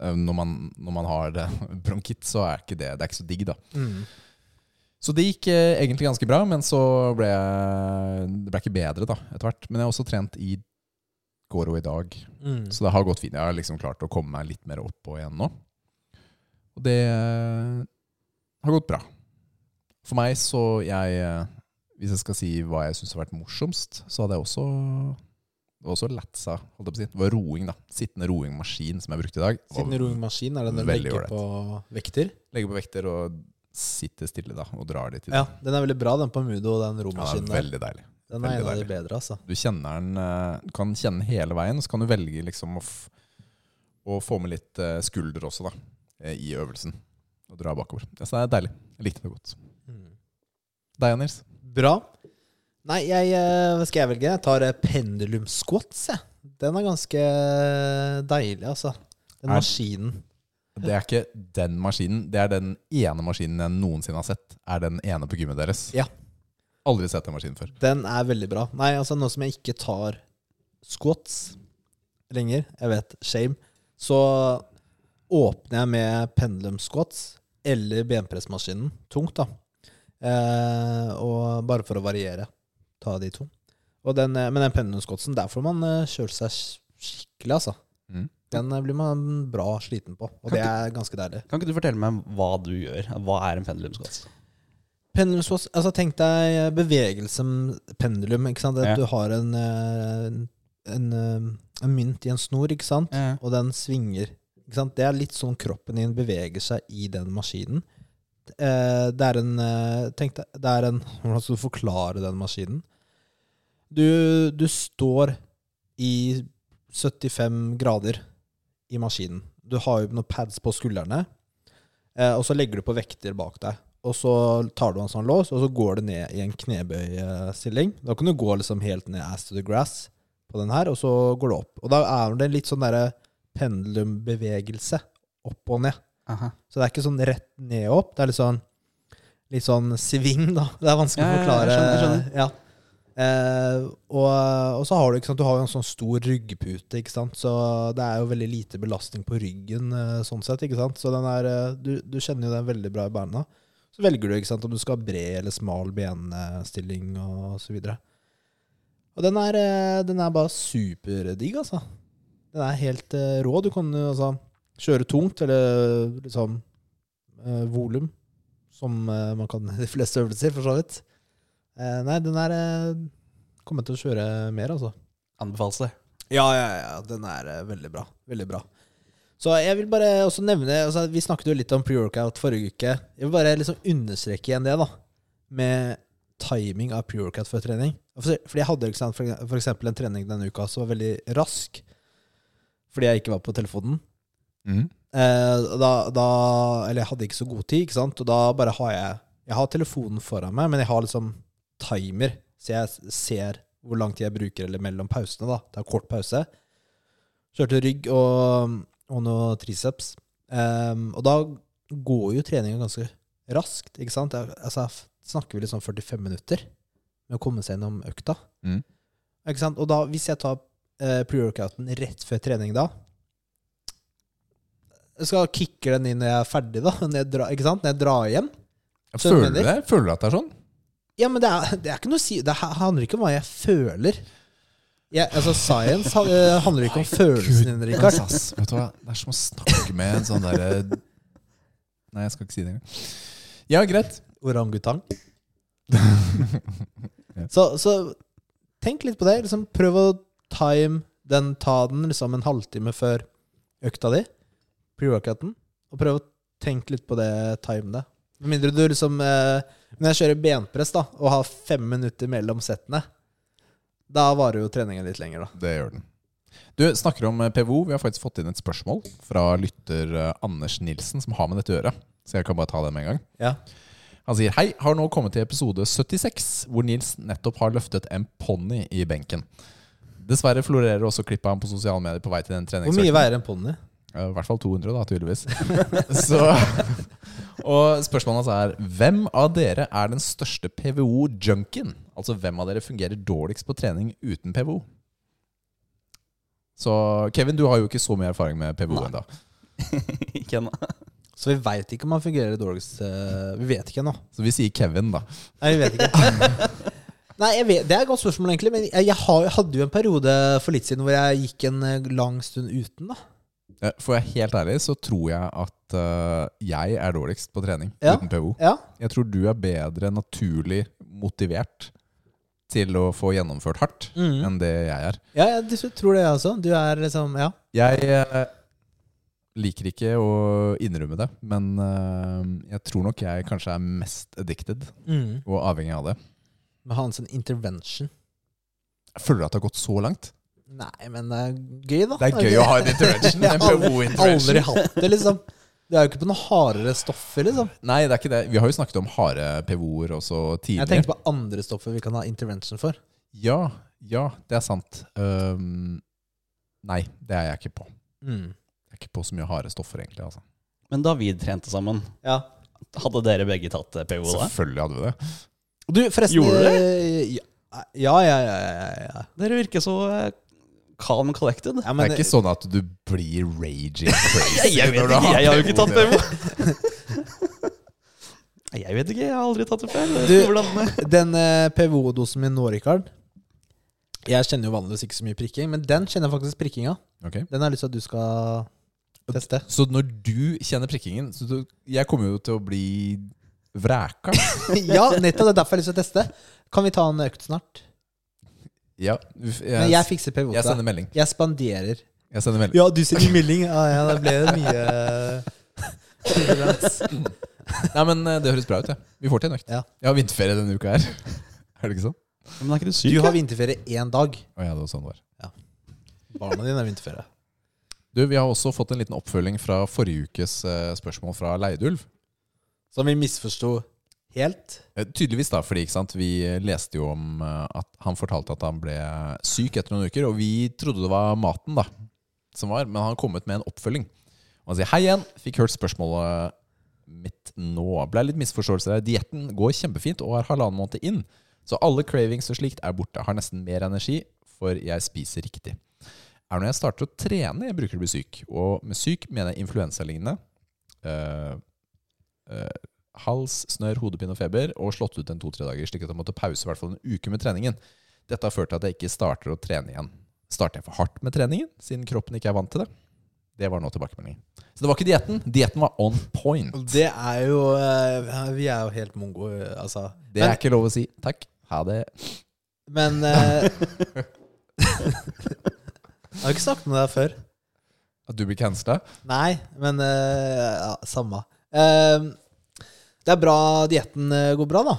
S3: Eh, Når man, når man har eh, bronkitt, så er ikke det, det er ikke så digg, da.
S1: Mm.
S3: Så det gikk eh, egentlig ganske bra, men så ble jeg, det ble ikke bedre da, etter hvert. Men jeg har også trent i går og i dag,
S1: Mm.
S3: så det har gått fint. Jeg har liksom klart å komme meg litt mer oppå igjen nå. Og det eh, har gått bra. For meg så jeg, eh, hvis jeg skal si hva jeg syns har vært morsomst, så hadde jeg også det var også latsa, holdt jeg på å si. Det var roing, da. Sittende roingmaskin som jeg brukte i dag. Det var-
S1: Siden roingmaskin er den den
S3: Veldig
S1: legger på vekter.
S3: Legger på vekter og sitter stille da, og drar litt i det.
S1: Ja, den er veldig bra, den på Mudo og den
S3: ja, det
S1: romaskinen
S3: er
S1: der.
S3: veldig deilig.
S1: Den er en av de
S3: veldig
S1: bedre, altså.
S3: Du kjenner den eh, Du kan kjenne den hele veien, og så kan du velge liksom å, f å få med litt eh, skulder også, da, eh, i øvelsen. Og dra bakover. Ja, Så det er deilig. Jeg likte det godt.
S1: Mm.
S3: Deg, Nils?
S1: Bra. Nei, jeg, eh, hva skal jeg velge? Jeg tar eh, pendulum squats, jeg. Den er ganske deilig, altså. Den
S3: Er-
S1: maskinen.
S3: Det er ikke den maskinen. Det er den ene maskinen jeg noensinne har sett. Er den ene på gymmet deres.
S1: Ja.
S3: Aldri sett den maskinen før.
S1: Den er veldig bra. Nei, altså nå som jeg ikke tar squats lenger, jeg vet, shame, så åpner jeg med pendulum squats eller benpressmaskinen. Tungt, da. Eh, og bare for å variere. Ta de to. Og den, eh, men den pendulum squatsen, der får man eh, kjørt seg sk- skikkelig, altså.
S3: Mm.
S1: Den eh, blir man bra sliten på, og
S2: Kan
S1: det er ganske deilig.
S2: Kan ikke du fortelle meg hva du gjør? Hva er en pendulumsquats?
S1: Pendulum squats, altså tenk deg eh, bevegelse med pendulum, ikke sant? At
S2: Ja.
S1: du har en, eh, en, eh, en mynt i en snor, ikke sant?
S2: Ja.
S1: Og den svinger, ikke sant? Det er litt sånn kroppen din beveger seg i den maskinen. Eh, Det er en, eh, tenk deg, det er en, hvordan skal du forklare den maskinen? Du, du står i 75 grader i maskinen. Du har jo noen pads på skuldrene, eh, og så legger du på vekter bak deg. Og så tar du en sånn lås, og så går du ned i en knebøystilling. Da kan du gå liksom helt ned ass to the grass på den her, og så går du opp. Og da er det litt sånn derre pendulumbevegelse opp og ned.
S2: Aha.
S1: Så det er ikke sånn rett ned og opp. Det er litt sånn, litt sånn sving, da. Det er vanskelig å
S2: Ja, ja, ja,
S1: forklare.
S2: jeg skjønner,
S1: Ja. Eh, og, og så har du ikke sant, du har jo en sånn stor ryggpute, ikke sant? så det er jo veldig lite belastning på ryggen. eh, sånn sett, ikke sant? Så den er, eh, du, du kjenner jo den veldig bra i beina. Så velger du ikke sant, om du skal ha bred eller smal benstilling og så videre. Og den er, eh, den er bare superdigg, altså. Den er helt eh, rå. Du kan jo altså kjøre tungt, eller liksom eh, volum, som eh, man kan i de fleste øvelser, for så vidt. Eh, nei, den er eh, kommet til å kjøre mer, altså.
S2: Anbefales det.
S1: Ja, ja, ja. Den er eh, veldig bra. Veldig bra. Så jeg vil bare også nevne altså, Vi snakket jo litt om pre-workout forrige uke. Jeg vil bare liksom understreke igjen det, da. Med timing av pre-workout før trening. For- Fordi jeg hadde ikke sant, for for eksempel en trening denne uka som var veldig rask. Fordi jeg ikke var på telefonen.
S3: Mm.
S1: Eh, og da, da, eller jeg hadde ikke så god tid, ikke sant? og da bare har jeg Jeg har telefonen foran meg, men jeg har liksom timer, så jeg s- ser hvor lang tid jeg bruker eller mellom pausene. da. Det er kort pause. Kjørte rygg og, og noe triceps. Ehm, og da går jo treninga ganske raskt, ikke sant? Jeg, altså, jeg f- snakker vi liksom 45 minutter med å komme seg gjennom økta.
S3: Mm.
S1: Ikke sant? Og da, hvis jeg tar eh, pre-workouten rett før trening da, jeg skal kicker den inn når jeg er ferdig, da. Når jeg drar, ikke sant? Når jeg drar hjem.
S3: Føler du
S1: Søvnmedel?
S3: det? Føler du at det er sånn?
S1: Ja, men det er, det er ikke noe å si Det her handler ikke om hva jeg føler. Jeg, altså, science han- eh, handler ikke om følelsen din, Rikard.
S3: Altså, ass, vet du hva? Det er som å snakke med en sånn derre Nei, jeg skal ikke si det engang. Ja, greit.
S1: Orangutang. Så, så tenk litt på det. Liksom, prøv å time den, ta den liksom en halvtime før økta di. Pre-workouten. Og prøv å tenke litt på det, time det. Med mindre du liksom eh, Når jeg kjører benpress da og har fem minutter mellom settene, da varer jo treninga litt lenger, da.
S3: Det gjør den. Du snakker om eh, PVO. Vi har faktisk fått inn et spørsmål fra lytter eh, Anders Nilsen, som har med dette å gjøre. Så jeg kan bare ta det med en gang.
S1: Ja.
S3: Han sier hei, har nå kommet til episode 76, hvor Nils nettopp har løftet en ponni i benken. Dessverre florerer også klippet av ham på sosiale medier på vei til den
S1: Hvor mye
S3: treningsøkten.
S1: veier en ponni?
S3: Eh, I hvert fall 200, da, tydeligvis. Så, og spørsmålet hans er Hvem av dere er den største PVO-junkien? Altså hvem av dere fungerer dårligst på trening uten PVO? Så Kevin, du har jo ikke så mye erfaring med PVO ennå.
S2: Ikke ennå.
S1: Så vi veit ikke om han fungerer dårligst. eh, Vi vet ikke ennå.
S3: Så vi sier Kevin, da.
S1: Nei, vi vet ikke. Nei, jeg vet, Det er et godt spørsmål, egentlig. Men jeg, jeg, har, jeg hadde jo en periode for litt siden hvor jeg gikk en eh, lang stund uten. da
S3: Eh, For jeg er helt ærlig så tror jeg at eh, jeg er dårligst på trening
S1: Ja.
S3: uten PVO.
S1: Ja,
S3: Jeg tror du er bedre naturlig motivert til å få gjennomført hardt
S1: Mhm.
S3: enn det jeg er.
S1: ja jeg dis- tror det, jeg også. Du er liksom Ja.
S3: Jeg eh, liker ikke å innrømme det, men eh, jeg tror nok jeg kanskje er mest addicted
S1: Mm.
S3: og avhengig av det.
S1: Med hans intervention.
S3: Jeg føler at det har gått så langt.
S1: Nei, men det er gøy, da.
S3: Det er gøy å ha en intervention.
S1: Jeg har
S3: En
S1: aldri-
S3: PVO-intervention.
S1: Aldri hatt det, liksom. Du er jo ikke på noen hardere stoffer, liksom.
S3: Nei, det er ikke det. Vi har jo snakket om harde PVO-er også
S1: Jeg
S3: tidligere.
S1: tenkte på andre stoffer vi kan ha intervention for.
S3: Ja, ja, det er sant. Ehm, nei, det er jeg ikke på.
S1: Mm.
S3: Jeg er ikke på så mye harde stoffer, egentlig. Altså.
S2: Men da vi trente sammen,
S1: Ja.
S2: hadde dere begge tatt eh, PVO da?
S3: Selvfølgelig hadde vi det.
S1: Du, forresten
S2: Gjorde du
S1: det? Ja, ja, ja. ja, ja, ja.
S2: Dere virker så eh, calm and collected.
S1: ja
S3: Det
S1: men,
S3: er ikke sånn at du blir raging crazy.
S2: Jeg, jeg vet
S3: når du
S2: ikke, jeg har jo ikke tatt
S3: PVO.
S2: PVO. Nei, Jeg vet ikke, jeg har aldri tatt det før.
S1: Du,
S2: Hvordan-
S1: Den eh, PVO-dosen min nå, Rikard Jeg kjenner jo vanligvis ikke så mye prikking, men den kjenner jeg faktisk prikking av.
S3: Ok.
S1: Den har jeg lyst til at du skal teste.
S3: Så når du kjenner prikkingen så du, Jeg kommer jo til å bli vræka.
S1: ja, nettopp. Det er derfor jeg har lyst til å teste. Kan vi ta en økt snart?
S3: Ja, uff, jeg,
S1: Men jeg fikser PVO til
S3: jeg
S1: deg.
S3: sender melding.
S1: Jeg spanderer.
S3: Jeg sender melding.
S1: Ja, du sender melding. Ja, ja, det ble mye
S3: Nei, men eh, Det høres bra ut. Ja. Vi får til en økt.
S1: Ja.
S3: Jeg har vinterferie denne uka her. Er det ikke sånn?
S2: Men er ikke du syk?
S1: Du har
S2: da?
S1: vinterferie én dag.
S3: Å, ja, det var sånn det var.
S1: Barna dine har vinterferie.
S3: Du, Vi har også fått en liten oppfølging fra forrige ukes eh, spørsmål fra Leidulv.
S1: Som vi misforsto helt.
S3: Eh, Tydeligvis, da, fordi ikke sant? vi eh, leste jo om eh, at han fortalte at han ble syk etter noen uker, og vi trodde det var maten da som var, men han har kommet med en oppfølging. Og han sier hei igjen, fikk hørt spørsmålet mitt nå. Ble litt misforståelser her. Dietten går kjempefint og er halvannen måned inn, så alle cravings og slikt er borte. Har nesten mer energi, for jeg spiser riktig. Er når jeg starter å trene jeg bruker å bli syk, og med syk mener jeg influensalignende. Eh, hals, snørr, hodepine og feber, og slått ut en to-tre dager, slik at jeg måtte pause i hvert fall en uke med treningen. Dette har ført til at jeg ikke starter å trene igjen. Starter jeg for hardt med treningen, siden kroppen ikke er vant til det? Det var nå tilbakemeldingen. Så det var ikke dietten. Dietten var on point.
S1: Det er jo eh, Vi er jo helt mongo, altså.
S3: Det er ikke lov å si. Takk. Ha det.
S1: Men eh, Jeg har ikke snakket med deg før.
S3: At du blir cancela?
S1: Nei, men eh, ja, Samme. Ehm, det er bra dietten eh, går bra, da.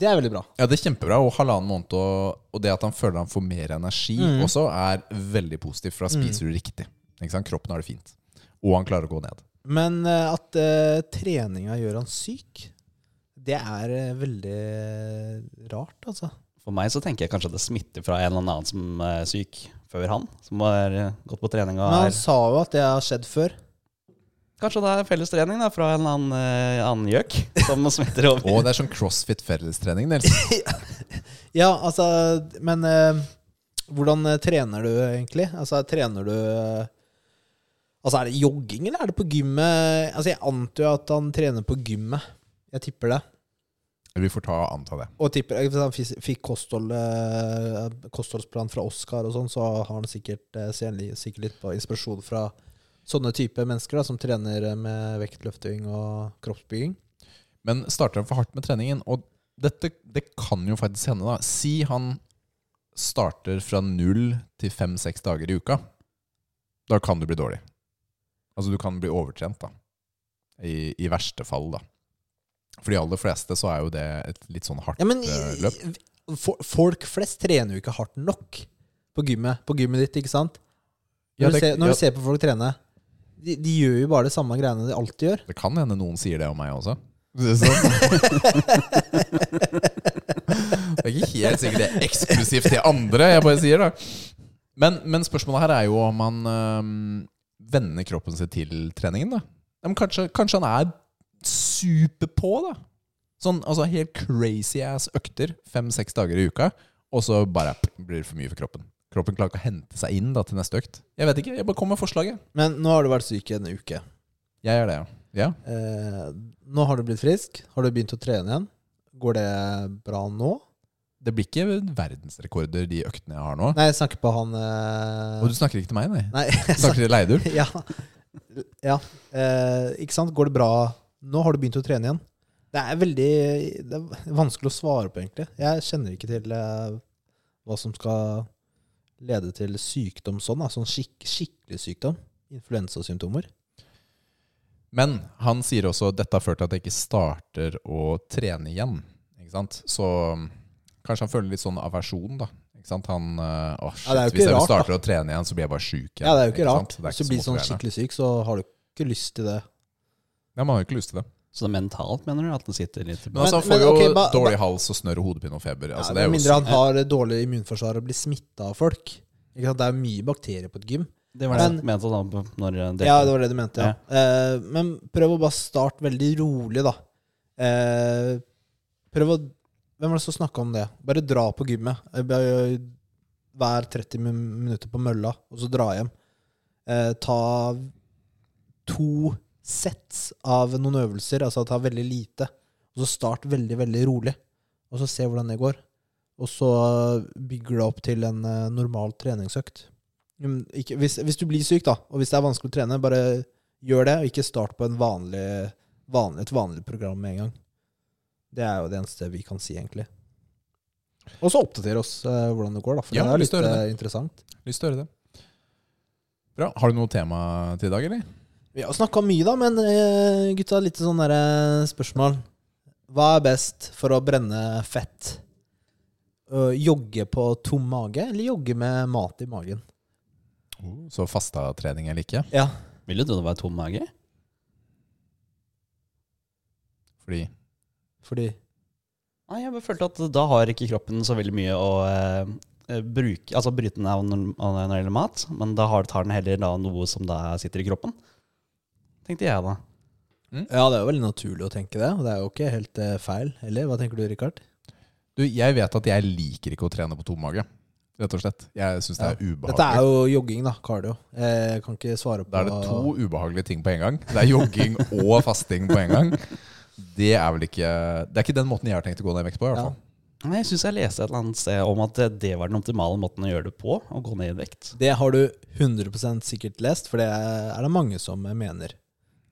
S1: Det er veldig bra.
S3: Ja, det er kjempebra. Og halvannen måned, og, og det at han føler han får mer energi
S1: Mm.
S3: Mm. også, er veldig positivt, for da spiser du riktig. Ikke sant? Kroppen har det fint. Og han klarer å gå ned.
S1: Men eh, at eh, treninga gjør han syk, det er eh, veldig rart, altså.
S2: For meg så tenker jeg kanskje at det smitter fra en eller annen som er syk før han. Som har eh, gått på trening og
S1: Men altså- han
S2: er
S1: sa jo at det har skjedd før.
S2: Kanskje det er felles trening da, fra en eller annen, eh, annen gjøk som smitter over.
S3: Og det er sånn crossfit-fellestrening, Nils.
S1: Ja, altså, men eh, hvordan eh, trener du egentlig? Altså, trener du eh, Altså, er det jogging, eller er det på gymmet? Altså, jeg antar jo at han trener på gymmet. Jeg tipper det.
S3: Vi får ta og anta det.
S1: Og tipper, eh, hvis han fis- fikk kosthold, eh, kostholdsplan fra Oskar og sånn, så har han sikkert, eh, ser han li- sikkert litt på inspirasjon fra sånne type mennesker da, som trener eh, med vektløfting og kroppsbygging.
S3: Men starter han for hardt med treningen, og dette, det kan jo faktisk hende, da. Si han starter fra null til fem-seks dager i uka. Da kan du bli dårlig. Altså, du kan bli overtrent, da. I, i verste fall, da. For de aller fleste så er jo det et litt sånn hardt
S1: Ja, men
S3: eh, løp.
S1: i- for, folk flest trener jo ikke hardt nok på gymmet, på gymmet ditt, ikke sant? Når,
S3: Ja, det-
S1: du, ser, når
S3: ja.
S1: du ser på folk trene, de, de gjør jo bare det samme greiene de alltid gjør.
S3: Det kan hende noen sier det om meg også. Det er sånn. Det er ikke helt sikkert det er eksklusivt til andre, jeg bare sier det. Men, men spørsmålet her er jo om han øhm, vender kroppen sin til treningen, da. Ja, Men kanskje, kanskje han er super på, da. Sånn altså helt crazy ass økter fem-seks dager i uka, og så bare pff, blir det for mye for kroppen. Kroppen klarer ikke å hente seg inn da til neste økt. Jeg vet ikke, jeg bare kommer med forslaget.
S1: Men nå har du vært syk i en uke.
S3: Jeg gjør det, ja. ja.
S1: Eh, nå har du blitt frisk. Har du begynt å trene igjen? Går det bra nå?
S3: Det blir ikke verdensrekorder, de øktene jeg har nå.
S1: Nei, jeg snakker på han eh,
S3: Og du snakker ikke til meg, nei.
S1: Nei,
S3: Du snakker til Leidur.
S1: ja. ja. Eh, ikke sant? Går det bra? Nå har du begynt å trene igjen. Det er veldig det er vanskelig å svare på, egentlig. Jeg kjenner ikke til eh, hva som skal lede til sykdom sånn. Da. Sånn skikk, skikkelig sykdom. Influensasymptomer.
S3: Men han sier også at dette har ført til at jeg ikke starter å trene igjen. Ikke sant? Så mm, kanskje han føler litt sånn aversjon, da. Ikke sant? Han, eh, åh, shit,
S1: Ja, det er jo
S3: Hvis
S1: ikke
S3: jeg
S1: rart,
S3: starter å trene igjen, så blir jeg bare sjuk igjen.
S1: Ja, det er jo ikke
S3: sant?
S1: rart.
S3: Det er
S1: Hvis
S3: ikke
S1: du blir
S3: så
S1: sånn
S3: motiverende.
S1: skikkelig syk, så har du ikke lyst til det.
S3: Ja, man har jo ikke lyst til det.
S2: Så det er mentalt, mener du? At den sitter litt
S3: Men, altså, han
S1: men
S3: får jo
S1: ok, ba-
S3: dårlig hals og snørr og hodepine og feber. Altså,
S1: Ja,
S3: det er
S1: Med
S3: jo
S1: mindre han har dårlig immunforsvar og blir smitta av folk. Ikke sant? Det er mye bakterier på et gym.
S2: Det var det
S1: Men-
S2: jeg mente da på- når eh, det,
S1: Ja, det var det du mente. Ja. Eh, men prøv å bare starte veldig rolig, da. Eh, prøv å Hvem var det som snakka om det? Bare dra på gymmet. Eh, bare Vær 30 min- minutter på mølla, og så dra hjem. Eh, ta to sets av noen øvelser, altså ta veldig lite. Og så start veldig, veldig rolig, og så se hvordan det går. Og så bygger det opp til en eh, normal treningsøkt. Mm, ikke, hvis, hvis du blir syk, da, og hvis det er vanskelig å trene, bare gjør det, og ikke start på en vanlig, vanlig, et vanlig program med en gang. Det er jo det eneste vi kan si, egentlig. Og så oppdater oss eh, hvordan det går, da, for
S3: Ja,
S1: det er
S3: lyst
S1: litt
S3: til å høre
S1: eh, interessant.
S3: lyst til å høre det. Bra. Har du noe tema til i dag, eller?
S1: Vi har snakka mye, da, men eh, gutta, litt sånn der, eh, spørsmål. Hva er best for å brenne fett? Ø, jogge på tom mage, eller jogge med mat i magen? Oh.
S3: Så fasta trening eller ikke?
S1: Ja,
S2: Vil du tro det var tom mage?
S3: Fordi
S1: fordi
S2: Nei, jeg bare følte at da har ikke kroppen så veldig mye å eh, bruke Altså bryte ned av når av når det gjelder mat, men da har, tar den heller da noe som da sitter i kroppen. Tenkte jeg, da.
S1: Ja, det er jo veldig naturlig å tenke det, og det er jo ikke helt eh, feil heller. Hva tenker du, Rikard?
S3: Du, jeg vet at jeg liker ikke å trene på tom mage. Rett og slett. Jeg syns det er
S1: Dette er
S3: ubehagelig.
S1: jo jogging, da. Cardio. Eh, Jeg kan ikke svare på
S3: Da er det to ubehagelige ting på en gang. Det er jogging og fasting på en gang. Det er vel ikke Det er ikke den måten jeg har tenkt å gå ned i vekt på. i hvert fall
S2: Nei, Jeg syns jeg leste et eller annet sted om at det var den optimale måten å gjøre det på, å gå ned i vekt.
S1: Det har du 100 sikkert lest, for det er det mange som mener.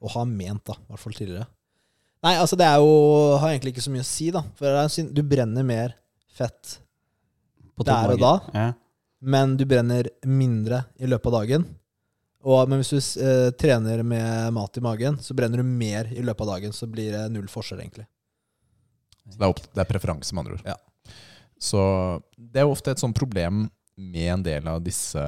S1: Og har ment, da. I hvert fall tidligere. Nei, altså, det er jo Har egentlig ikke så mye å si, da. For det er, syn- du brenner mer fett
S2: På
S1: Der
S2: tom
S1: og
S2: mage. Ja.
S1: men du brenner mindre i løpet av dagen. Og, men hvis du eh, trener med mat i magen, så brenner du mer i løpet av dagen. Så blir det null forskjell, egentlig.
S3: Så det er, opp, det er preferanse, med andre ord.
S1: Ja.
S3: Så det er jo ofte et sånt problem med en del av disse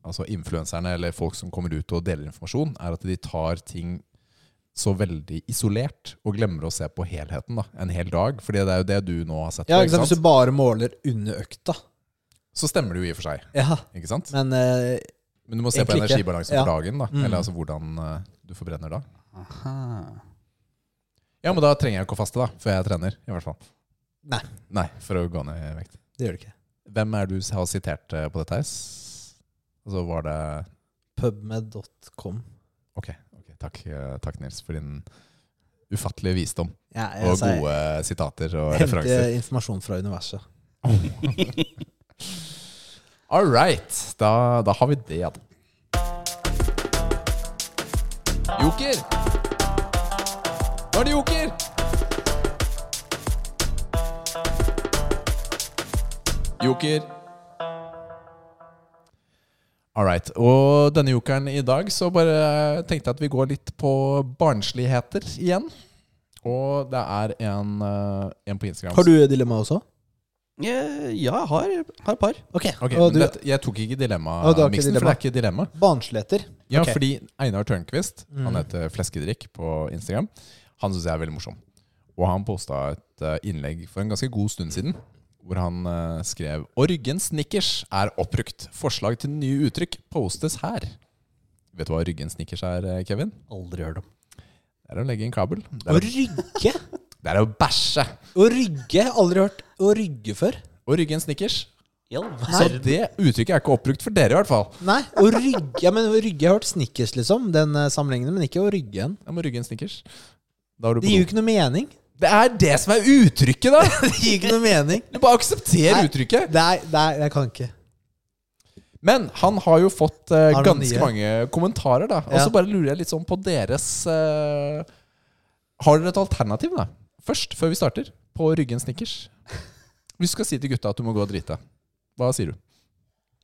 S3: altså influenserne eller folk som kommer ut og deler informasjon, er at de tar ting så veldig isolert og glemmer å se på helheten da, en hel dag. Fordi det er jo det du nå har sett
S1: Ja,
S3: på,
S1: ikke sant? Hvis du bare måler under økta.
S3: Så stemmer det jo i og for seg,
S1: Ja,
S3: ikke sant?
S1: men eh,
S3: Men du må se på
S1: Egentlig ikke.
S3: energibalansen
S1: Ja.
S3: for dagen, da.
S1: Mm.
S3: Eller altså hvordan eh, du forbrenner da.
S2: Aha.
S3: Ja, men da trenger jeg ikke å faste da, før jeg trener, i hvert fall.
S1: Nei.
S3: Nei, for å gå ned i vekt.
S1: det gjør det ikke.
S3: Hvem er det du har sitert eh, på dette her? S- Altså var det...
S1: Pubmed.com.
S3: Ok, ok. Takk, eh, takk Nils, for din ufattelige visdom.
S1: Ja, jeg
S3: Og
S1: sier-
S3: gode eh, sitater og
S1: Hente
S3: referanser.
S1: informasjon fra universet.
S3: All right, da, da har vi det, da. Joker! Nå er det joker! Joker. All right. Og denne jokeren i dag, så bare tenkte jeg at vi går litt på barnsligheter igjen. Og det er en, eh, en på Instagram
S1: Har du dilemma også?
S2: Eh, Ja, jeg har, har et par.
S1: Ok.
S3: Ok,
S1: og
S3: men
S1: du,
S3: dette, Jeg tok ikke
S1: Å, du har ikke
S3: dilemma-miksen, for det
S1: dilemma.
S3: er ikke dilemma.
S1: barnsligheter.
S3: Ja,
S1: Ok.
S3: fordi Einar Tørnquist, han
S1: Mm.
S3: heter Fleskedrikk på Instagram, han syns jeg er veldig morsom. Og han posta et eh, innlegg for en ganske god stund siden, hvor han eh, skrev Orgen snickers er oppbrukt. Forslag til nye uttrykk postes her. Vet du hva Ryggen snickers er, eh, Kevin?
S2: Aldri hørt om.
S3: Det er å legge en kabel. Det
S1: Å
S3: er,
S1: rygge!
S3: å- det er å bæsje.
S1: Å rygge! Aldri hørt å rygge før.
S3: Og Ryggen snickers.
S2: Ja,
S3: Så det uttrykket er ikke oppbrukt for dere, i hvert fall.
S1: Nei, å rygge Ja, men å rygge Jeg har hørt Snickers, liksom. Den eh, sammenligningen, men ikke å rygge en.
S3: Jeg må rygge en snickers. Da er du
S1: Det
S3: på
S1: gir jo
S3: do.
S1: ikke noe mening.
S3: Det er det som er uttrykket, da!
S1: Det gir ikke noe mening.
S3: Du bare aksepterer
S1: Nei.
S3: uttrykket.
S1: Nei, nei, jeg kan ikke.
S3: Men han har jo fått eh,
S1: Har du
S3: ganske
S1: nye?
S3: mange kommentarer, da. Og
S1: Ja.
S3: så bare lurer jeg litt sånn på deres eh, Har dere et alternativ, da? Først, før vi starter, på Ryggen Snickers. Hvis du skal si til gutta at du må gå og drite, hva sier du?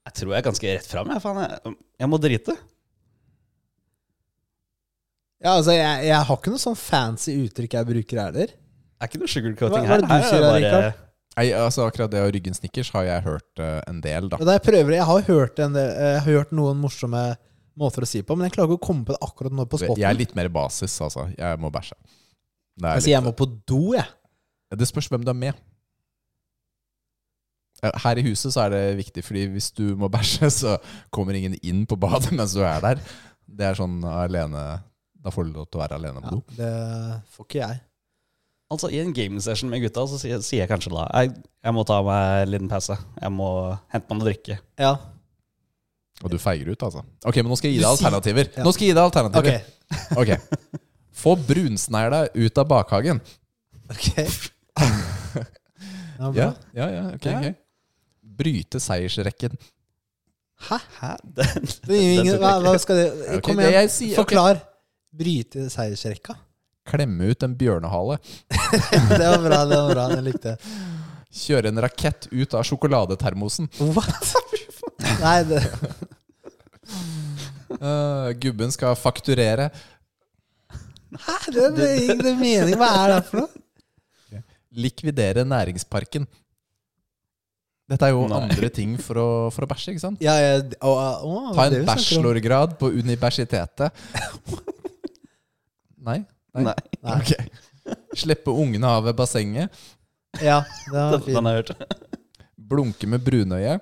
S2: Jeg tror jeg er ganske rett fram. Jeg, faen. jeg, jeg må drite.
S1: Ja, altså, jeg, jeg har ikke noe sånn fancy uttrykk jeg bruker heller.
S2: Er ikke noe sugarcoating
S1: Hva- hva er
S2: her.
S1: det du
S2: Her er
S1: sier da,
S2: bare-
S1: Rikard?
S3: Nei, altså Akkurat det og Ryggen Snickers har jeg hørt eh, en del, da.
S1: Og da jeg, prøver, jeg har hørt, en, del- eh, jeg har hørt noen morsomme måter å si det på, men jeg klarer ikke å komme på det akkurat nå på spotten.
S3: Jeg er litt mer basis, altså. Jeg må bæsje. Det, er
S1: jeg
S3: litt-
S1: sier jeg må på do, jeg.
S3: det spørs hvem du er med. Eh, Her i huset så er det viktig, fordi hvis du må bæsje, så kommer ingen inn på badet mens du er der. Det er sånn alene Da får du lov til å være alene på
S1: Ja,
S3: do.
S1: det får ikke jeg.
S2: Altså, I en gaming-session med gutta så sier, sier jeg kanskje da jeg, jeg må ta meg en liten pause. Jeg må hente meg noe å drikke.
S1: Ja,
S3: Og du feiger ut, altså. Ok, men nå skal jeg gi
S1: Du
S3: deg
S1: sier-
S3: alternativer.
S1: Ja.
S3: Nå skal jeg gi deg
S1: ok.
S3: alternativer. ok. Få brunsnegla ut av bakhagen.
S1: Ok. Ja, bra.
S3: Ja, ja, ja. ok,
S2: Ja.
S3: ok. Bryte seiersrekken.
S1: Hæ?
S2: Hæ? Den,
S1: Det gir jo ingen,
S2: den
S1: hva,
S2: tok
S1: hva
S2: jeg ikke.
S1: skal det
S3: Ok,
S1: Kom
S3: det
S1: igjen,
S3: jeg sier, ok.
S1: forklar. Bryte seiersrekka.
S3: Klemme ut en bjørnehale.
S1: Det var bra, det var bra. Jeg likte det.
S3: Kjøre en rakett ut av sjokoladetermosen.
S1: What? Nei, det
S3: Eh, gubben skal fakturere.
S1: Hæ? Det, det gir ingen mening. Hva er det for noe?
S3: Likvidere næringsparken. Dette er jo
S2: Nei.
S3: andre ting for å, for å bæsje, ikke sant?
S1: Ja, ja, å, å, å,
S3: Ta
S1: det sånn vi snakker
S3: en
S1: om.
S3: bachelorgrad på universitetet. Nei?
S2: Nei,
S1: Nei.
S3: Ok. Slippe ungene av ved bassenget.
S1: Ja, det var
S2: den, den
S1: fint.
S2: har jeg hørt.
S3: Blunke med brunøye.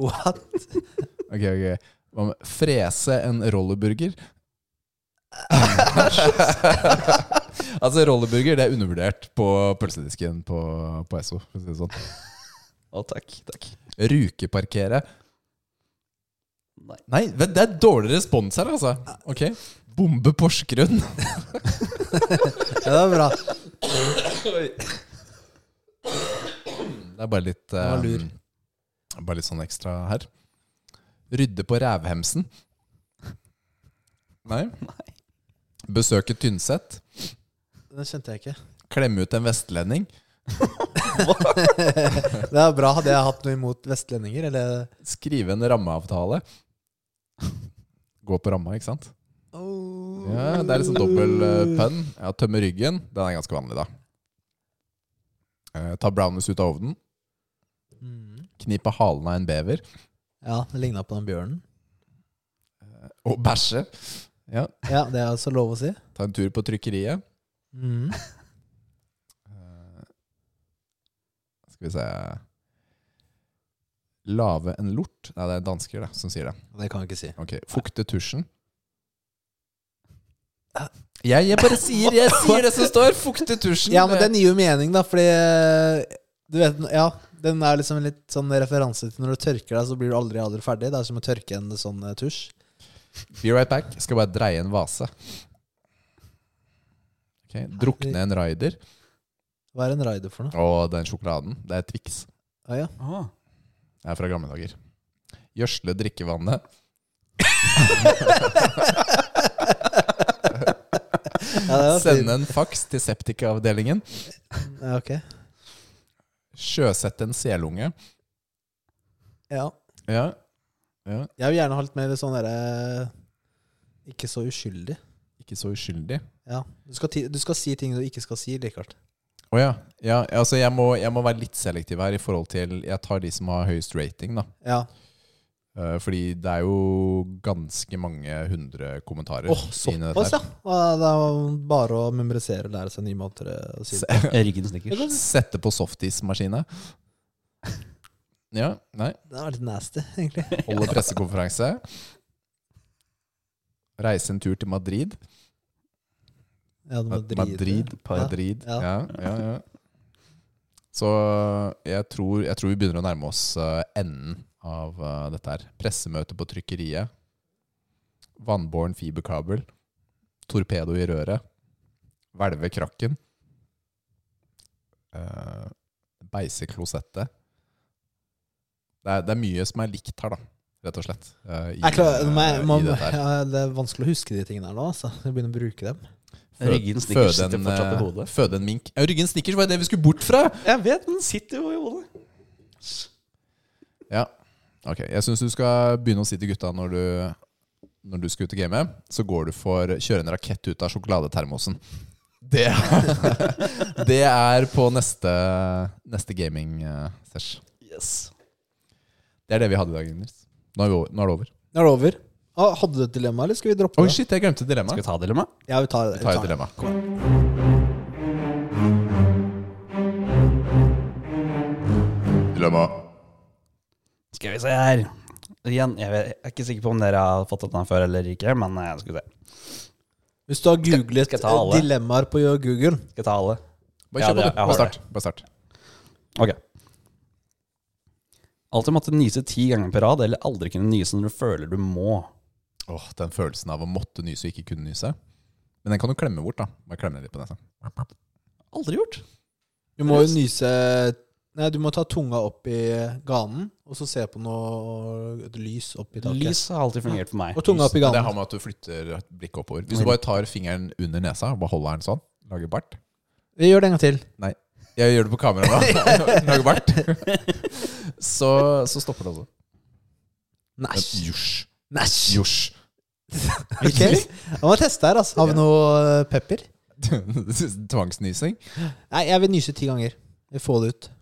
S1: What?
S3: Ok, ok. Hva med frese en rolleburger? altså, rolleburger det er undervurdert på pølsedisken på, på Esso. For å si det sånn.
S2: Å, takk. takk.
S3: Rukeparkere.
S2: Nei.
S3: Nei, vet du, det er dårlig respons her, altså. Ok. Bombe Porsgrunn.
S1: Ja, det var bra.
S3: Det er bare litt
S1: var
S3: eh,
S1: lur.
S3: Bare litt sånn ekstra her. Rydde på rævhemsen. Nei. Besøke Tynset.
S1: Den skjønte jeg ikke.
S3: Klemme ut en vestlending.
S1: Det er bra. Hadde jeg hatt noe imot vestlendinger, eller
S3: Skrive en rammeavtale. Gå på ramma, ikke sant?
S1: oh.
S3: Ja, Det er liksom dobbel eh, pønn. Ja, Tømme ryggen. Den er ganske vanlig, da. Eh, ta brownies ut av ovnen.
S1: Mm.
S3: Knipe halen av en bever.
S1: Ja, det ligna på den bjørnen.
S3: Å bæsje. Ja,
S1: Ja, det er altså lov å si.
S3: ta en tur på trykkeriet.
S1: Mhm.
S3: Eh, Skal vi se Lave en lort. Nei, det er dansker det, som sier det.
S1: Det kan jeg ikke si.
S3: Ok, Fukte tusjen. Jeg, jeg bare sier Jeg sier det som står! Fukte tusjen.
S1: Ja, men den gir jo mening, da, fordi eh, Du vet, ja, den er liksom en litt sånn referanse til når du tørker deg, så blir du aldri aldri ferdig. Det er som å tørke en sånn eh, tusj.
S3: Be right back. Skal bare dreie en vase. Ok, Drukne en raider.
S1: Hva er en raider for noe?
S3: Og den sjokoladen. Det er Twix.
S1: Ah, ja.
S2: Ah.
S3: Det er fra gamle dager. Gjødsle drikkevannet.
S1: ja, det var fint.
S3: Sende en faks til septikaavdelingen.
S1: Ja, ok.
S3: Sjøsette en selunge.
S1: Ja.
S3: Ja. ja.
S1: Jeg vil gjerne ha litt mer sånn derre Ikke så uskyldig.
S3: Ikke så uskyldig.
S1: Ja. Du skal, ti, du skal si ting du ikke skal si, Richard.
S3: Å ja. ja. Altså, jeg må, jeg må være litt selektiv her i forhold til Jeg tar de som har høyest rating, da.
S1: Ja.
S3: Eh, Fordi det er jo ganske mange hundre kommentarer.
S1: Åh,
S3: inni dette
S1: såpass, ja!
S3: her.
S1: Ah, Det er jo bare å memorisere og lære seg nye måter å si det.
S3: Se-
S2: Ryggen snickers.
S3: Sette på softismaskine. Ja. Nei.
S1: Det er litt nasty, egentlig.
S3: Holde pressekonferanse. Reise en tur til Madrid.
S1: Ja, du må drite.
S3: Madrid.
S2: Ja.
S3: Madrid.
S1: Ja.
S3: Ja. Ja, ja, Så jeg tror, jeg tror vi begynner å nærme oss eh, enden av eh, dette her. Pressemøte på trykkeriet. Vannbåren fiberkabel. Torpedo i røret. Hvelve krakken. Eh, beise klosettet. Det er, det er mye som er likt her, da. Rett og slett. eh, i,
S1: Jeg klarer,
S3: eh,
S1: man, man,
S3: i dette her.
S1: ja, det er vanskelig å huske de tingene her nå. Altså. Jeg begynner å bruke dem.
S3: Fød-
S2: Ryggen snickers
S3: føde en,
S2: sitter fortsatt i
S3: eh,
S2: hodet.
S3: Føde en mink. Ja, Ryggen snickers var jo det vi skulle bort fra!
S2: Jeg vet, den sitter jo i hodet.
S3: Ja. Ok, jeg syns du skal begynne å si til gutta når du, når du skal ut og game, så går du for kjøre en rakett ut av sjokoladetermosen. Det er, det er på neste, neste gaming-sesh.
S2: Yes.
S3: Det er det vi hadde i dag, Nils. Nå er, vi over, nå er det over.
S1: Nå er det over. Å, hadde du et dilemma, eller skal vi droppe
S3: Oi,
S1: det?
S3: shit, jeg glemte
S2: Skal vi
S3: dilemmaet.
S2: ta det, eller? hva?
S1: Ja, vi tar det.
S3: Ta et dilemma. Kom igjen.
S4: Dilemma.
S2: Skal vi se her. Igjen, jeg, vet, jeg er ikke sikker på om dere har fått denne før eller ikke, men eh, skal vi se.
S1: Hvis du har googlet eh,
S2: skal jeg ta alle?
S1: dilemmaer på Google
S2: Skal jeg ta alle?
S3: Bare
S2: Ja,
S3: kjør på,
S2: det- jeg
S3: du.
S2: har
S3: Bare start. Bare start.
S2: Ok. Alltid måtte nyse ti ganger på rad, eller aldri kunne nyse når du føler du må.
S3: Åh, Den følelsen av å måtte nyse og ikke kunne nyse. Men den kan du klemme bort, da. Bare klemme den litt på nesa.
S2: Aldri gjort.
S1: Du må jo nyse Nei, du må ta tunga opp i ganen, og så se på noe et lys opp i taket.
S2: Lys har alltid fungert for meg.
S1: Og tunga opp i
S3: Men Det
S1: ganen.
S3: har med at du flytter et blikk oppover. Hvis du bare tar fingeren under nesa og bare holder den sånn, lager bart
S1: Vi gjør det en gang til.
S3: Nei, jeg gjør det på kamera nå. lager bart. Så, så stopper det også.
S1: Næsj.
S3: Josj.
S1: Næsj.
S3: Josj.
S1: Ok. Jeg må teste her, altså. Har vi noe eh, pepper?
S3: Tvangsnysing.
S1: Nei, jeg vil nyse ti ganger. Vi får det ut.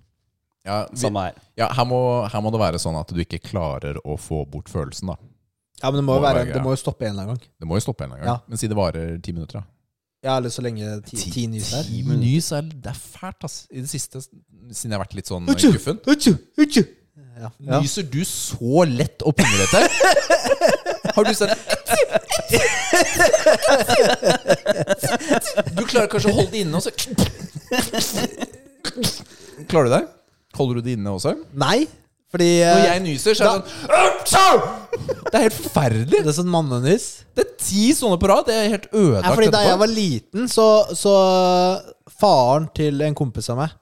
S3: Ja, vi,
S2: Samme her.
S3: ja her, må, her må det være sånn at du ikke klarer å få bort følelsen, da.
S1: Ja, men det må jo
S3: Må
S1: være
S3: være,
S1: Det
S3: ja.
S1: må jo stoppe en eller annen gang.
S3: Det må jo stoppe en eller annen gang.
S1: Ja.
S3: Men si det varer ti minutter, da.
S1: Ja, eller så lenge ti, ti nys her.
S3: Ti nys er, det er fælt, ass. I det siste, siden jeg har vært litt sånn
S1: Utju,
S3: guffen.
S1: utju, utju. Ja. Ja.
S3: Nyser du så lett og pinglete? Har du sett Du klarer kanskje å holde det inne, og så Klarer du det? Holder du det inne også?
S1: Nei, fordi
S3: Når
S1: eh,
S3: jeg nyser, så er det sånn Det er helt forferdelig!
S1: det er sånn mannenys.
S3: Det er ti sånne på rad. Det er helt
S1: Ja,
S3: ødelagt
S1: fordi da jeg var liten, så, så faren til en kompis av meg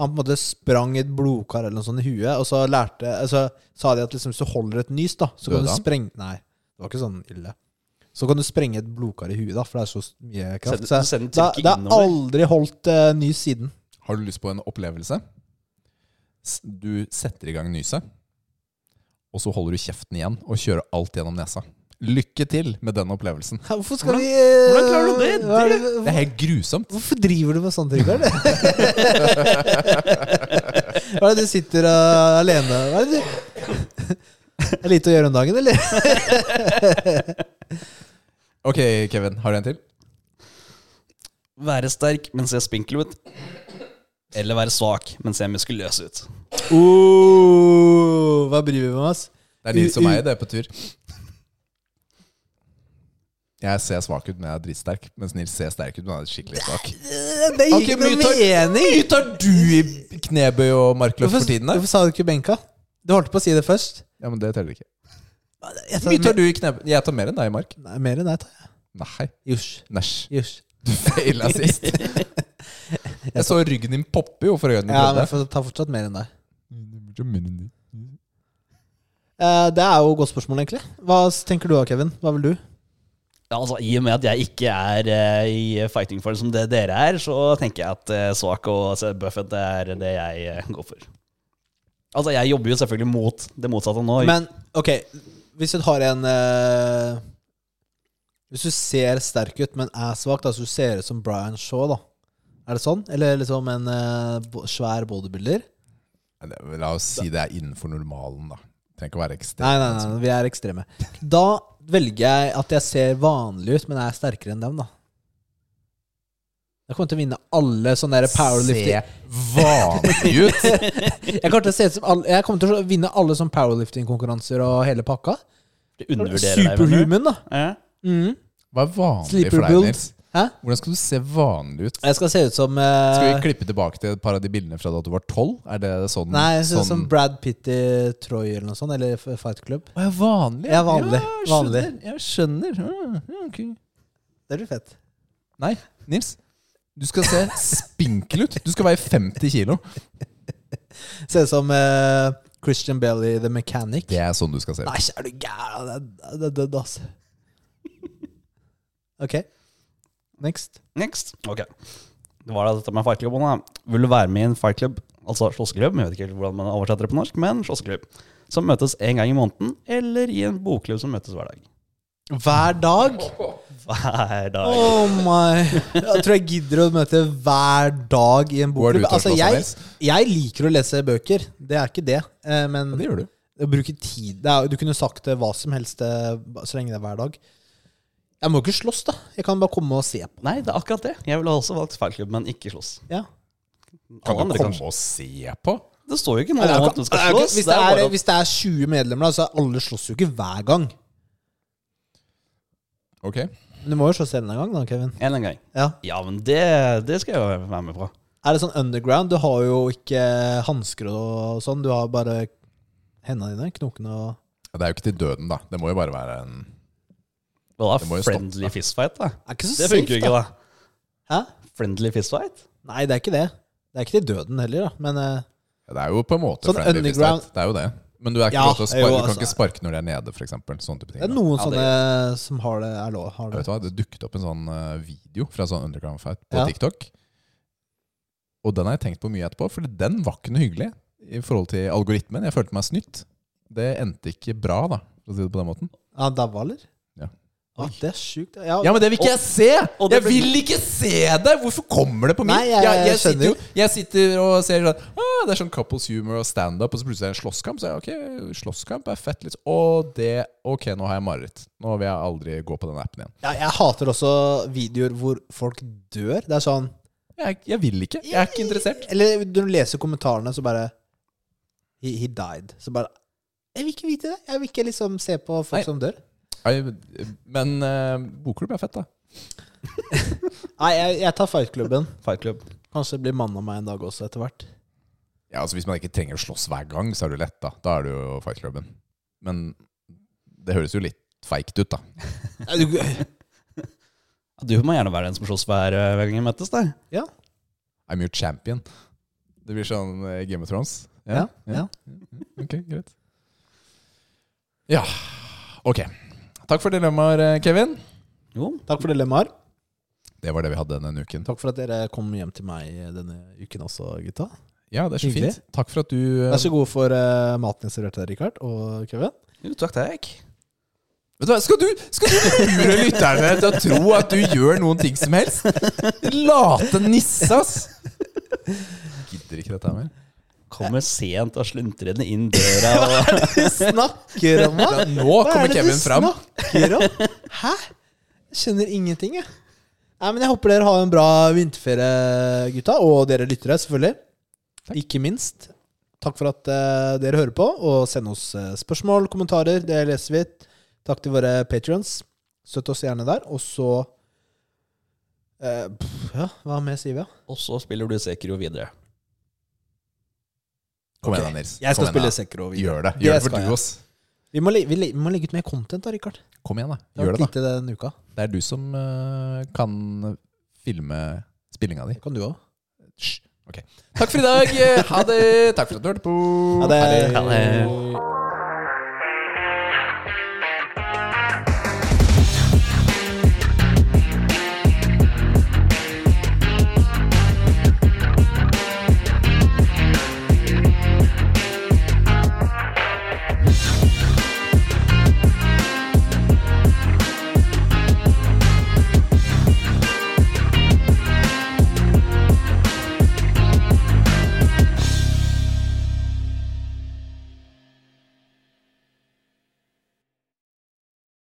S1: Han på en måte sprang et blodkar eller noe sånt i huet, og så lærte altså, sa de at liksom, hvis du holder et nys, da, så kan
S3: Døde
S1: du
S3: han?
S1: sprenge Nei, det var ikke sånn ille. Så kan du sprenge et blodkar i huet, da, for det er så mye kraft.
S2: Send-
S1: Så
S2: send
S1: da,
S2: trykket
S1: da har jeg
S2: innover.
S1: aldri holdt eh, nys siden.
S3: Har du lyst på en opplevelse? S- Du setter i gang nyset, og så holder du kjeften igjen og kjører alt gjennom nesa. Lykke til med den opplevelsen.
S1: Ja, Hvorfor skal vi eh,
S2: hvordan klarer du det?
S1: hva er det-
S3: Det er helt grusomt.
S1: Hvorfor driver du med sånn, sånt, Rikard? Hva er det du sitter uh, alene Hva er det du Det er lite å gjøre om dagen, eller?
S3: Ok, Kevin, har du en til?
S2: Være sterk, men se spinkel ut. Eller være svak, men se muskuløs ut.
S3: Oh,
S1: Uh, hva bryr vi med oss?
S3: Det er de
S1: U-
S3: som
S1: u-
S3: er i det på tur. Jeg ser svak ut, men jeg er dritsterk. Mens Nils ser sterk ut, men han er skikkelig svak.
S1: Eh, Det gir
S3: Ok,
S1: ikke noe
S3: mye tar-
S1: mening!
S3: Mye tar du i knebøy og markløft
S1: Hvorfor,
S3: for tiden? der?
S1: hvorfor sa du ikke benka? Du holdt på å si det først.
S3: Ja, men det teller ikke.
S1: Jeg
S3: Hvor mye tar du i knebøy? Jeg tar mer enn deg i mark.
S1: Nei, mer enn deg tar jeg.
S3: Nei,
S1: Jusj.
S3: næsj.
S1: Jusj.
S3: Du feila sist. Jeg så ryggen din poppe jo for øynene.
S1: Ja, men
S3: Ja,
S1: jeg får ta fortsatt mer enn deg.
S3: men...
S1: Eh, det er jo et godt spørsmål, egentlig. Hva s- tenker du da, Kevin? Hva vil du?
S2: Ja, altså, I og med at jeg ikke er eh, i fighting form som det dere er, så tenker jeg at eh, svak og se buffet det er det jeg eh, går for. Altså, jeg jobber jo selvfølgelig mot det motsatte nå.
S1: Men ok, hvis du har en eh, Hvis du ser sterk ut, men er svak, da, så du ser ut som Brian Shaw, da. Er det sånn? Eller liksom en eh, bo- svær bodybuilder?
S3: Ja, det- La oss si det er innenfor normalen, da. Trenger ikke sånn. å være ekstrem.
S1: Nei, nei, nei, nei, vi er ekstreme. Da velger jeg at jeg ser vanlig ut, men er sterkere enn dem, da. Jeg kommer til å vinne alle sånne der powerlifting
S3: Se vanlig ut!
S1: Jeg kommer til å, se ut som alle, jeg kommer til å vinne alle sånne powerlifting-konkurranser og hele pakka.
S2: Du undervurderer deg, mener du?
S1: Superhuman, da.
S2: Ja.
S1: Mhm.
S3: Hva er vanlig
S1: Sleeper
S3: for deg,
S1: build.
S3: Nils?
S1: Hæ?
S3: Hvordan skal du se vanlig ut?
S1: Jeg skal se ut som eh,
S3: Skal vi klippe tilbake til et par av de bildene fra da du var tolv? Er det sånn
S1: Nei, jeg ser ut
S3: sånn-
S1: som Brad Pitt i Troy eller noe sånt, eller F- Fight Club.
S3: Å, jeg er vanlig?
S1: Jeg er vanlig,
S3: Ja, jeg
S1: vanlig.
S3: skjønner. Jeg skjønner. Ja, ja, ok.
S1: Det blir fett.
S3: Nei, Nils. Du skal se spinkel ut. Du skal veie 50 kilo.
S1: Ser ut som eh, Christian Bailey The Mechanic.
S3: Det er sånn du skal se ut.
S1: Nei, er du gæren? Det er- Det er dødd, altså. Ok. Next.
S2: Next. Ok. Det var da dette med fightklubben, da. Vil du være med i en fightclub, altså slåssklubb, jeg vet ikke helt hvordan man oversetter det på norsk, men slåssklubb, som møtes en gang i måneden, eller i en bokklubb som møtes hver dag?
S1: Hver dag?
S2: Hver dag.
S1: Oh my Jeg tror jeg gidder å møte hver dag i en
S3: Hvor er du
S1: bokklubb.
S3: til å
S1: Altså,
S3: slåss,
S1: jeg,
S3: Anders?
S1: jeg liker å lese bøker, det er ikke det. Eh, Men
S3: Ja, det gjør du.
S1: å bruke tid det er, jo- Du kunne sagt det hva som helst eh, så lenge det er hver dag. Jeg må jo ikke slåss, da. Jeg kan bare komme og se på.
S2: Nei, det er akkurat det. Jeg ville også valgt fightclub, men ikke slåss.
S1: Ja.
S3: Kan
S2: Alle
S3: man
S2: andre,
S3: komme
S2: kanskje.
S3: og se på?
S2: Det står jo ikke
S1: Nei,
S2: noe
S1: det er
S2: om
S1: jo
S2: at du
S1: ikke- det er
S2: skal
S1: jo ikke-
S2: slåss.
S1: Hvis
S2: Det er bare
S1: det er-
S2: at
S1: hvis det er 20 medlemmer, da, så er alle slåss jo ikke hver gang.
S3: Ok.
S1: Men du må jo slåss en eller annen gang, da, Kevin.
S2: en eller annen gang.
S1: Ja.
S2: Ja, men det, det skal jeg jo være med på.
S1: Er det sånn underground? Du har jo ikke hansker og sånn. Du har bare hendene dine, knokene og
S3: Ja, Det er jo ikke til døden, da. Det må jo bare være en
S2: Hva
S3: Det
S2: da?
S3: må jo stoppe.
S2: Friendly fistfight, da?
S1: Er ikke så
S2: Det funker jo ikke, da.
S1: Hæ?
S2: Friendly fistfight?
S1: Nei, det er ikke det. Det er ikke til døden heller, da. Men eh,
S3: Ja, Det er jo på en måte
S1: Sånn
S3: friendly
S1: underground-
S3: fistfight. Det er jo det. Men du, er ikke
S1: Ja,
S3: lov til å sparke,
S1: jo,
S3: du kan
S1: altså.
S3: ikke sparke når de er nede, for eksempel Sånne type ting.
S1: det er
S3: da.
S1: noen
S2: Ja, det-
S1: sånne som har det, er lov. Har
S3: Ja,
S1: det.
S3: vet du hva? Det dukket opp en sånn eh, video fra sånn underground fight på
S1: Ja.
S3: TikTok. Og den har jeg tenkt på mye etterpå, for den var ikke noe hyggelig i forhold til algoritmen. Jeg følte meg snytt. Det endte ikke bra, da, for å si det på den måten.
S1: Ja, daua, eller?
S3: Ja.
S1: Oi, det er sjukt. Ja,
S3: Ja, men det vil ikke jeg se!
S2: og det
S3: Jeg
S2: ble-
S3: vil ikke se det! Hvorfor kommer det på min?
S1: Nei, jeg- jeg skjønner
S3: sitter,
S1: jo.
S3: jo- jeg sitter og ser sånn ah, Det er sånn couples humor og standup, og så plutselig er det en slåsskamp. Så jeg, ok, slåsskamp er fett. Litt. Og det Ok, nå har jeg mareritt. Nå vil jeg aldri gå på den appen igjen.
S1: Ja, jeg hater også videoer hvor folk dør. Det er sånn
S3: Jeg, jeg vil ikke. Jeg er ikke interessert.
S1: Eller når du leser kommentarene, så bare He, he died. Så bare Jeg vil ikke vite det. Jeg vil ikke liksom se på folk
S3: Nei.
S1: som dør.
S3: Nei, Men eh, bokklubb er fett, da.
S1: Nei, jeg, jeg tar fightklubben.
S2: Fightclub.
S1: Kanskje det blir mann av meg en dag også, etter hvert.
S3: Ja, altså Hvis man ikke trenger å slåss hver gang, så er det jo lett. Da Da er det jo fightklubben. Men det høres jo litt feigt ut, da.
S1: Nei, du-
S2: Ja, Du må gjerne være den som slåss hver eh, hver gang vi møtes, da.
S1: Ja.
S3: I'm your champion. Det blir sånn eh, Game of Thrones.
S1: Ja, ja.
S3: Ok, greit. Ja, ok. Takk for dilemmaer, eh, Kevin.
S2: Jo.
S1: Takk for dilemmaer.
S3: Det var det vi hadde denne uken.
S1: Takk for at dere kom hjem til meg denne uken også, gutta.
S3: Ja, det er så
S1: Hyggelig.
S3: fint. Takk for at du eh,
S1: Vær så god for eh, maten jeg serverte deg, Richard og Kevin.
S2: jo takk, takk.
S3: Vet du hva, skal du, skal du lure lytterne til å tro at du gjør noen ting som helst? Late nisse, ass! Gidder ikke dette her mer.
S2: Kommer sent og sluntrende inn døra. Og,
S1: Du snakker om
S3: Ja,
S1: meg!
S3: Nå kommer Kevin fram.
S1: snakker om? Hæ? Jeg skjønner ingenting, jeg. Nei, men jeg håper dere har en bra vinterferie, gutta. Og dere lyttere, selvfølgelig. Ikke minst. Takk for at eh, dere hører på, og send oss eh, spørsmål, kommentarer. Det leser vi. Takk til våre patrions. Støtt oss gjerne der. Og så eh, pff, Ja, hva mer sier vi, da?
S2: og så spiller du Sekiro videre.
S3: Kom
S1: Ok.
S3: igjen, da, Nils.
S1: Jeg skal
S3: Kom igjen,
S1: spille
S3: da.
S1: Sekro.
S3: Gjør det.
S1: Det
S3: Gjør det for
S1: skal
S3: du
S1: jeg.
S3: oss.
S1: Vi må, le- vi, le- vi må legge ut mer content da, Rikard.
S3: Kom igjen, da.
S1: Det har
S3: Gjør
S1: vært
S3: det, da.
S1: lite denne uka.
S3: Det er du som eh, kan filme spillinga di.
S1: Det kan du òg.
S3: Hysj. Ok. Takk for i dag. Ha Eh, det. Takk for at du hørte på.
S1: Ha det.
S2: Ha det.
S1: Ha det.